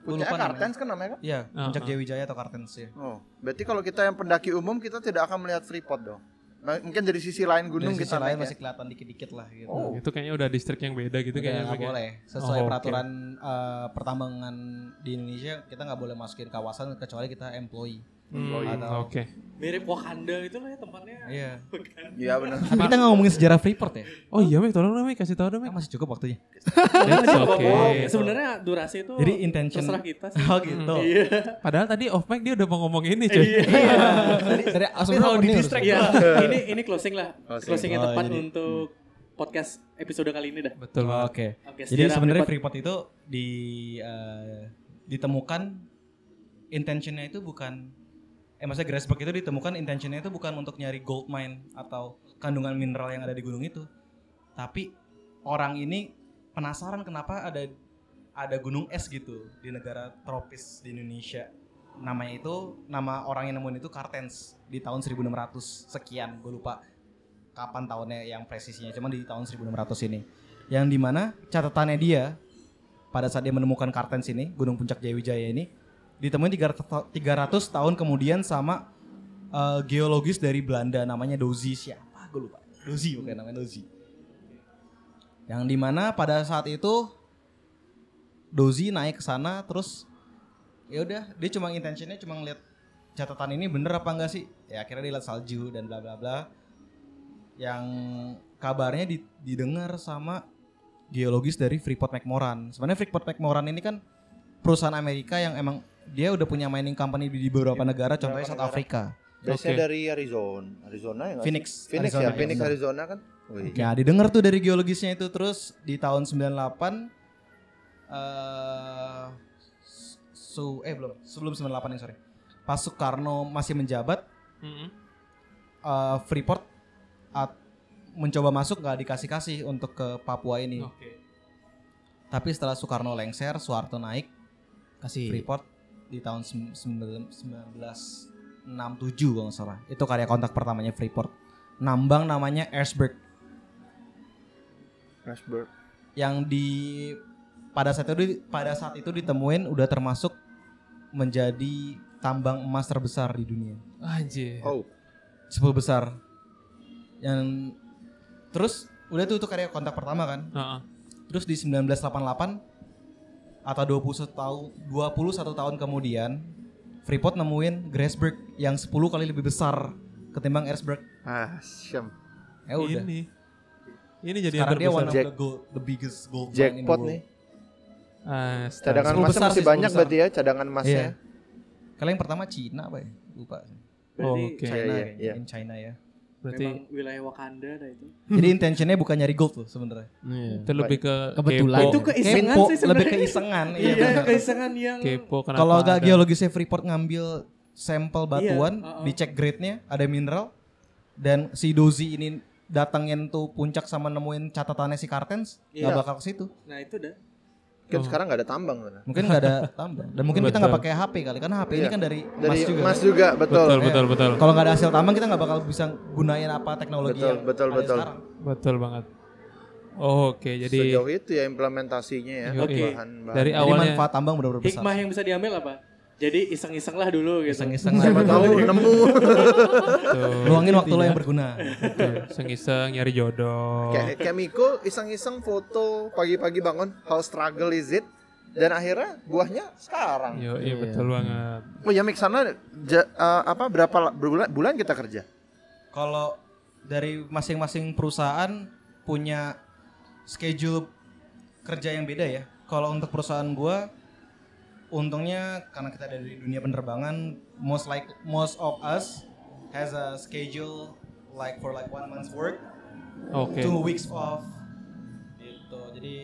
[SPEAKER 5] gua
[SPEAKER 4] Puncaknya
[SPEAKER 5] namanya.
[SPEAKER 4] Kartens kan namanya kan?
[SPEAKER 5] Iya, Puncak
[SPEAKER 1] Ah, ah.
[SPEAKER 5] Jayawijaya atau Kartens ya.
[SPEAKER 4] Oh, berarti kalau kita yang pendaki umum kita tidak akan melihat Freeport dong. Ma- Mungkin dari sisi lain gunung
[SPEAKER 5] Dari sisi
[SPEAKER 4] kita naik
[SPEAKER 5] lain
[SPEAKER 4] ya.
[SPEAKER 5] masih kelihatan dikit-dikit lah gitu.
[SPEAKER 4] Oh.
[SPEAKER 1] Itu kayaknya udah distrik yang beda gitu
[SPEAKER 5] Udah
[SPEAKER 1] kayaknya.
[SPEAKER 5] nggak
[SPEAKER 1] Mik, ya?
[SPEAKER 5] boleh.
[SPEAKER 1] Oh,
[SPEAKER 5] Sesuai
[SPEAKER 1] oke.
[SPEAKER 5] peraturan eh, pertambangan di Indonesia kita nggak boleh masukin kawasan kecuali kita employee.
[SPEAKER 1] Hmm,
[SPEAKER 5] Atau-
[SPEAKER 1] Oke.
[SPEAKER 3] Mirip Wakanda gitu lah ya tempatnya.
[SPEAKER 5] Iya.
[SPEAKER 4] Iya benar.
[SPEAKER 5] Tapi kita nggak ngomongin sejarah Freeport ya?
[SPEAKER 1] Oh iya Mik, tolong dong Mik, kasih tau dong
[SPEAKER 5] Ah,
[SPEAKER 1] Mik.
[SPEAKER 5] masih cukup waktunya.
[SPEAKER 1] That's
[SPEAKER 3] Oh,
[SPEAKER 1] okay.
[SPEAKER 3] sebenarnya durasi itu
[SPEAKER 5] Jadi intention.
[SPEAKER 3] terserah kita sih.
[SPEAKER 5] Oh gitu.
[SPEAKER 3] Iya.
[SPEAKER 1] Padahal tadi off mic dia udah mau ngomong ini
[SPEAKER 5] Iya.
[SPEAKER 1] cuy.
[SPEAKER 2] Tadi Iya. dari asal
[SPEAKER 5] Ini selalu di distract.
[SPEAKER 3] Iya, ini ini closing lah.
[SPEAKER 4] Closing.
[SPEAKER 3] Closingnya
[SPEAKER 5] Oh,
[SPEAKER 3] tepat
[SPEAKER 5] jadi-
[SPEAKER 3] untuk podcast episode kali ini dah.
[SPEAKER 1] Betul
[SPEAKER 5] Oh, Oke.
[SPEAKER 1] banget.
[SPEAKER 3] Oke,
[SPEAKER 5] Jadi
[SPEAKER 3] sejarah
[SPEAKER 5] sebenarnya
[SPEAKER 3] Freeport.
[SPEAKER 5] Freeport itu di eh, ditemukan intentionnya itu bukan eh maksudnya Grasberg itu ditemukan intentionnya itu bukan untuk nyari gold mine atau kandungan mineral yang ada di gunung itu. Tapi orang ini penasaran kenapa ada ada gunung es gitu di negara tropis di Indonesia. Namanya itu nama orang yang nemuin itu Kartens di tahun 1600 sekian gue lupa kapan tahunnya yang presisinya cuman di tahun 1600 ini yang dimana catatannya dia pada saat dia menemukan Kartens ini Gunung Puncak Jayawijaya ini ditemuin 300, ta- 300 tahun kemudian sama eh, geologis dari Belanda namanya Dozi siapa gue lupa Dozi bukan namanya Dozi yang dimana pada saat itu Dozi naik ke sana terus ya udah dia cuma intentionnya cuma ngeliat catatan ini bener apa enggak sih ya akhirnya dia lihat salju dan bla bla bla yang kabarnya di- didengar sama geologis dari Freeport McMoran. Sebenarnya Freeport McMoran ini kan perusahaan Amerika yang emang dia udah punya mining company di di beberapa negara, contohnya South
[SPEAKER 4] negara.
[SPEAKER 5] Africa,
[SPEAKER 1] Oke.
[SPEAKER 4] Biasanya dari Arizona, Arizona ya nggak sih?
[SPEAKER 5] Phoenix,
[SPEAKER 4] Phoenix
[SPEAKER 5] Arizona,
[SPEAKER 4] ya, Phoenix
[SPEAKER 5] Arizona.
[SPEAKER 4] Arizona kan. Wih.
[SPEAKER 5] Nah, didengar tuh dari geologisnya itu terus di tahun 98 eh su eh belum, sebelum 98 ya, sorry. Pas Soekarno masih menjabat,
[SPEAKER 1] Mm-mm.
[SPEAKER 5] eh, Freeport at- mencoba masuk nggak dikasih-kasih untuk ke Papua ini.
[SPEAKER 1] Oke.
[SPEAKER 5] Tapi setelah Soekarno lengser, Soeharto naik,
[SPEAKER 2] Kasih.
[SPEAKER 4] Iya.
[SPEAKER 5] Freeport di tahun sem- sembilan- 1967 kalau nggak salah. Itu karya kontak pertamanya Freeport. Nambang namanya Erzberg
[SPEAKER 4] Rashford.
[SPEAKER 5] yang di pada saat itu pada saat itu ditemuin udah termasuk menjadi tambang emas terbesar di dunia.
[SPEAKER 1] Anjir.
[SPEAKER 4] Oh,
[SPEAKER 5] 10 besar. Yang terus udah tuh itu karya kontak pertama kan.
[SPEAKER 1] Heeh.
[SPEAKER 5] Terus di 1988 atau 21 tahun 21 tahun kemudian Freeport nemuin Grasberg yang 10 kali lebih besar ketimbang Erzberg.
[SPEAKER 4] ah, syam.
[SPEAKER 1] Iya,
[SPEAKER 5] Ya udah.
[SPEAKER 1] Ini. Ini jadi yang
[SPEAKER 5] Sekarang dia one
[SPEAKER 1] terbesar.
[SPEAKER 5] of
[SPEAKER 4] Jack-
[SPEAKER 5] the gold, the biggest gold mine in the
[SPEAKER 4] Jackpot
[SPEAKER 5] world.
[SPEAKER 4] nih.
[SPEAKER 1] Astaga.
[SPEAKER 4] Cadangan
[SPEAKER 5] 10
[SPEAKER 4] emasnya
[SPEAKER 5] besar
[SPEAKER 4] masih
[SPEAKER 5] sih, 10
[SPEAKER 4] banyak
[SPEAKER 5] besar.
[SPEAKER 4] berarti ya, cadangan emasnya.
[SPEAKER 5] Iya. Kalau yang pertama Cina apa ya? Lupa.
[SPEAKER 1] Oh,
[SPEAKER 3] Berarti
[SPEAKER 1] Oke.
[SPEAKER 5] China
[SPEAKER 4] iya,
[SPEAKER 5] kayaknya,
[SPEAKER 4] iya.
[SPEAKER 5] in China ya.
[SPEAKER 1] Berarti
[SPEAKER 3] memang wilayah Wakanda dah itu.
[SPEAKER 4] Hmm.
[SPEAKER 5] Jadi intentionnya bukan nyari gold loh sebenarnya.
[SPEAKER 2] Iya.
[SPEAKER 1] itu lebih ke
[SPEAKER 2] Kebetulan.
[SPEAKER 1] kepo.
[SPEAKER 3] Itu keisengan
[SPEAKER 5] Kepo,
[SPEAKER 3] sih
[SPEAKER 5] lebih
[SPEAKER 3] sebenarnya.
[SPEAKER 5] keisengan. iya.
[SPEAKER 3] Iya,
[SPEAKER 5] benar.
[SPEAKER 3] keisengan yang
[SPEAKER 1] kepo kenapa
[SPEAKER 5] Kalau agak
[SPEAKER 1] ada-
[SPEAKER 5] geologisnya Freeport ngambil sampel batuan,
[SPEAKER 3] Iya, uh-uh.
[SPEAKER 5] dicek grade-nya, ada mineral, dan si Dozi ini datangin tuh puncak sama nemuin catatannya si Kartens, nggak
[SPEAKER 4] Iya.
[SPEAKER 5] bakal ke situ.
[SPEAKER 3] Nah, itu dah.
[SPEAKER 4] Kan
[SPEAKER 1] Oh.
[SPEAKER 4] sekarang nggak ada tambang sana.
[SPEAKER 5] Mungkin nggak ada tambang. Dan mungkin kita nggak
[SPEAKER 1] Betul.
[SPEAKER 5] pakai HP kali karena HP ini
[SPEAKER 4] Iya.
[SPEAKER 5] kan dari, emas
[SPEAKER 4] Dari
[SPEAKER 5] juga.
[SPEAKER 4] emas juga, betul.
[SPEAKER 1] betul betul betul
[SPEAKER 5] Kalau nggak ada hasil tambang kita nggak bakal bisa gunain apa teknologi
[SPEAKER 4] Betul,
[SPEAKER 5] yang
[SPEAKER 4] betul,
[SPEAKER 5] ada
[SPEAKER 4] betul.
[SPEAKER 5] sekarang.
[SPEAKER 1] betul banget oh, oke jadi
[SPEAKER 4] Sejauh itu ya implementasinya ya.
[SPEAKER 1] Yoi.
[SPEAKER 4] Oke. Bahan-bahan.
[SPEAKER 1] dari
[SPEAKER 5] Jadi
[SPEAKER 1] awalnya
[SPEAKER 5] manfaat tambang benar-benar besar.
[SPEAKER 3] Hikmah yang bisa diambil apa? Jadi iseng-iseng lah dulu gitu.
[SPEAKER 5] Iseng-iseng lah.
[SPEAKER 4] Siapa tahu nemu.
[SPEAKER 1] tuh,
[SPEAKER 5] Luangin waktu lo
[SPEAKER 1] intinya,
[SPEAKER 5] yang berguna.
[SPEAKER 1] betul. iseng-iseng nyari jodoh
[SPEAKER 4] Kayak kayak Miko iseng-iseng foto pagi-pagi bangun how struggle is it dan akhirnya buahnya sekarang.
[SPEAKER 1] Yo, iya betul banget.
[SPEAKER 4] Oh ya Mik sana ja- eh, apa berapa la- berbulan bulan kita kerja?
[SPEAKER 5] Kalau dari masing-masing perusahaan punya schedule kerja yang beda ya. Kalau untuk perusahaan gua untungnya karena kita dari dunia penerbangan most like most of us has a schedule like for like one month's work,
[SPEAKER 1] Oke.
[SPEAKER 5] two weeks off gitu. Jadi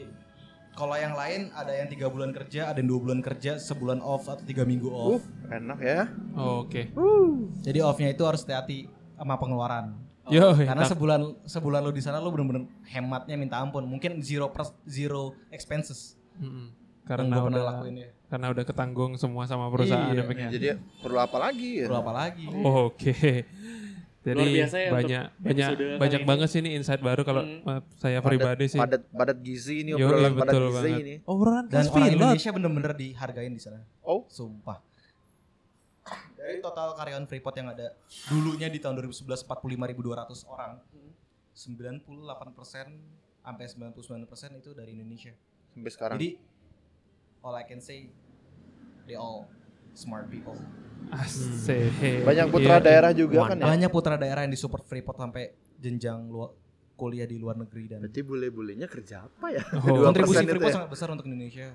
[SPEAKER 5] kalau yang lain ada yang tiga bulan kerja, ada yang dua bulan kerja, sebulan off atau tiga minggu
[SPEAKER 1] Oh.
[SPEAKER 4] Uh,
[SPEAKER 5] off.
[SPEAKER 4] enak ya.
[SPEAKER 1] Oke.
[SPEAKER 5] Jadi offnya itu harus hati-hati sama pengeluaran.
[SPEAKER 3] Oh,
[SPEAKER 1] Yo,
[SPEAKER 5] Karena
[SPEAKER 1] enak.
[SPEAKER 5] sebulan sebulan lu di sana lu bener-bener hematnya minta ampun. Mungkin zero pers- zero expenses.
[SPEAKER 1] Mm-mm.
[SPEAKER 5] yang
[SPEAKER 1] karena
[SPEAKER 5] gua pernah
[SPEAKER 1] udah
[SPEAKER 5] lakuin ya.
[SPEAKER 1] karena udah ketanggung semua sama perusahaan
[SPEAKER 5] Iya.
[SPEAKER 1] ya, Mik, ya?
[SPEAKER 4] Jadi perlu apa lagi ya?
[SPEAKER 5] Perlu apa lagi?
[SPEAKER 1] Oh, Oke. Jadi
[SPEAKER 3] Luar biasa ya
[SPEAKER 1] banyak
[SPEAKER 3] untuk
[SPEAKER 1] banyak
[SPEAKER 3] episode kali
[SPEAKER 1] banyak
[SPEAKER 3] ini.
[SPEAKER 1] banget sih ini insight baru kalau
[SPEAKER 3] Hmm.
[SPEAKER 1] eh, saya
[SPEAKER 4] Padat-
[SPEAKER 1] pribadi sih.
[SPEAKER 4] Padat padat gizi ini
[SPEAKER 1] Yo, iya,
[SPEAKER 4] obrolan padat
[SPEAKER 1] betul
[SPEAKER 4] gizi
[SPEAKER 1] banget.
[SPEAKER 4] ini.
[SPEAKER 1] Orang
[SPEAKER 5] Dan
[SPEAKER 1] kelas
[SPEAKER 5] orang
[SPEAKER 1] pilot.
[SPEAKER 5] Indonesia bener-bener dihargain di sana.
[SPEAKER 4] Oh.
[SPEAKER 5] Sumpah. Dari total karyawan Freeport yang ada dulunya di tahun 2011 45.200 orang. 98% sampai 99% itu dari Indonesia.
[SPEAKER 4] Sampai sekarang.
[SPEAKER 5] Jadi all I can say they all smart people.
[SPEAKER 1] Asik.
[SPEAKER 4] Mm. Banyak putra
[SPEAKER 1] Iya.
[SPEAKER 4] daerah juga kan ya.
[SPEAKER 5] Banyak putra daerah yang disupport Freeport sampai jenjang lu- kuliah di luar negeri dan
[SPEAKER 4] Berarti bule-bulenya kerja apa ya?
[SPEAKER 1] Oh.
[SPEAKER 4] Dua
[SPEAKER 5] kontribusi
[SPEAKER 4] persen itu
[SPEAKER 5] Freeport
[SPEAKER 4] ya?
[SPEAKER 5] sangat besar untuk Indonesia.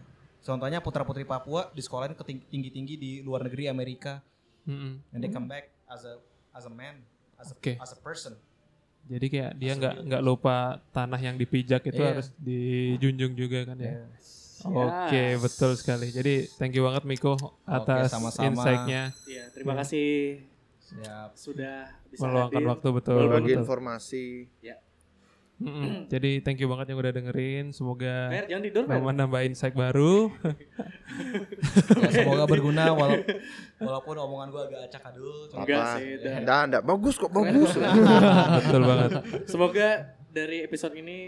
[SPEAKER 5] Contohnya putra-putri Papua di sekolah tinggi-tinggi di luar negeri Amerika
[SPEAKER 1] Mm-mm.
[SPEAKER 5] and they come back as a as a man, as a
[SPEAKER 1] Hmm. Oke.
[SPEAKER 5] as a person.
[SPEAKER 1] Jadi kayak dia nggak nggak lupa tanah yang dipijak itu
[SPEAKER 5] Iya.
[SPEAKER 1] harus dijunjung juga kan ya. Oke,
[SPEAKER 3] Iya. Yes.
[SPEAKER 1] betul sekali. Jadi thank you banget Miko atas
[SPEAKER 5] sama-sama.
[SPEAKER 1] insight-nya
[SPEAKER 3] Iya, terima kasih
[SPEAKER 5] Siap.
[SPEAKER 3] sudah bisa
[SPEAKER 1] meluangkan
[SPEAKER 3] hadir.
[SPEAKER 1] waktu betul.
[SPEAKER 4] Berbagi
[SPEAKER 1] betul.
[SPEAKER 4] informasi.
[SPEAKER 1] Mm-mm. Jadi thank you banget yang udah dengerin. Semoga
[SPEAKER 3] Fer, jangan tidur, Fer.
[SPEAKER 1] menambah insight baru.
[SPEAKER 5] Ya, semoga berguna wala- walaupun omongan gua agak acak adul. cuma-
[SPEAKER 3] Enggak sih, dah.
[SPEAKER 4] Eh, Enggak, enggak. Bagus kok, bagus.
[SPEAKER 1] betul banget.
[SPEAKER 3] Semoga dari episode ini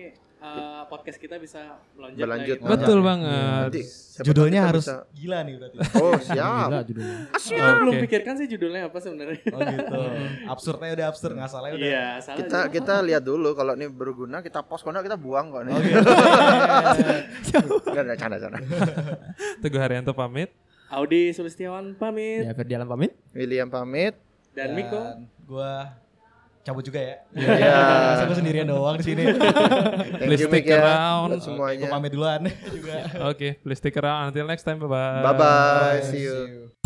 [SPEAKER 3] eh, podcast kita bisa melonjak.
[SPEAKER 4] Berlanjut.
[SPEAKER 3] lagi.
[SPEAKER 1] Betul
[SPEAKER 5] Iya.
[SPEAKER 1] banget.
[SPEAKER 4] Nanti siapa tahu
[SPEAKER 5] Judulnya
[SPEAKER 4] kita
[SPEAKER 5] harus
[SPEAKER 4] bisa-
[SPEAKER 5] gila nih berarti.
[SPEAKER 4] Oh, siap.
[SPEAKER 2] Gila judulnya.
[SPEAKER 4] Nah,
[SPEAKER 3] Kita belum
[SPEAKER 1] Oke.
[SPEAKER 3] pikirkan sih judulnya apa sebenarnya.
[SPEAKER 5] Oh gitu. Absurdnya udah absurd, nggak salahnya udah.
[SPEAKER 3] Iya, salah.
[SPEAKER 4] Kita kita lihat dulu kalau ini berguna kita post kalau enggak kita buang kok nih. Enggak ada canda-canda.
[SPEAKER 1] Teguh Haryanto pamit.
[SPEAKER 3] Audi Sulistiawan pamit
[SPEAKER 2] Ya Ferdi Alam pamit.
[SPEAKER 4] William pamit.
[SPEAKER 3] dan Miko.
[SPEAKER 5] Gua cabut juga ya.
[SPEAKER 4] Iya.
[SPEAKER 5] Masa gua sendirian doang di sini.
[SPEAKER 4] Thank
[SPEAKER 1] Please
[SPEAKER 4] you
[SPEAKER 1] stick
[SPEAKER 4] Mik ya.
[SPEAKER 1] around.
[SPEAKER 5] Gua
[SPEAKER 4] Semuanya.
[SPEAKER 5] pamit duluan juga.
[SPEAKER 1] Oke, please stick around. Until next time. Bye-bye.
[SPEAKER 4] Bye bye. See you.
[SPEAKER 5] you.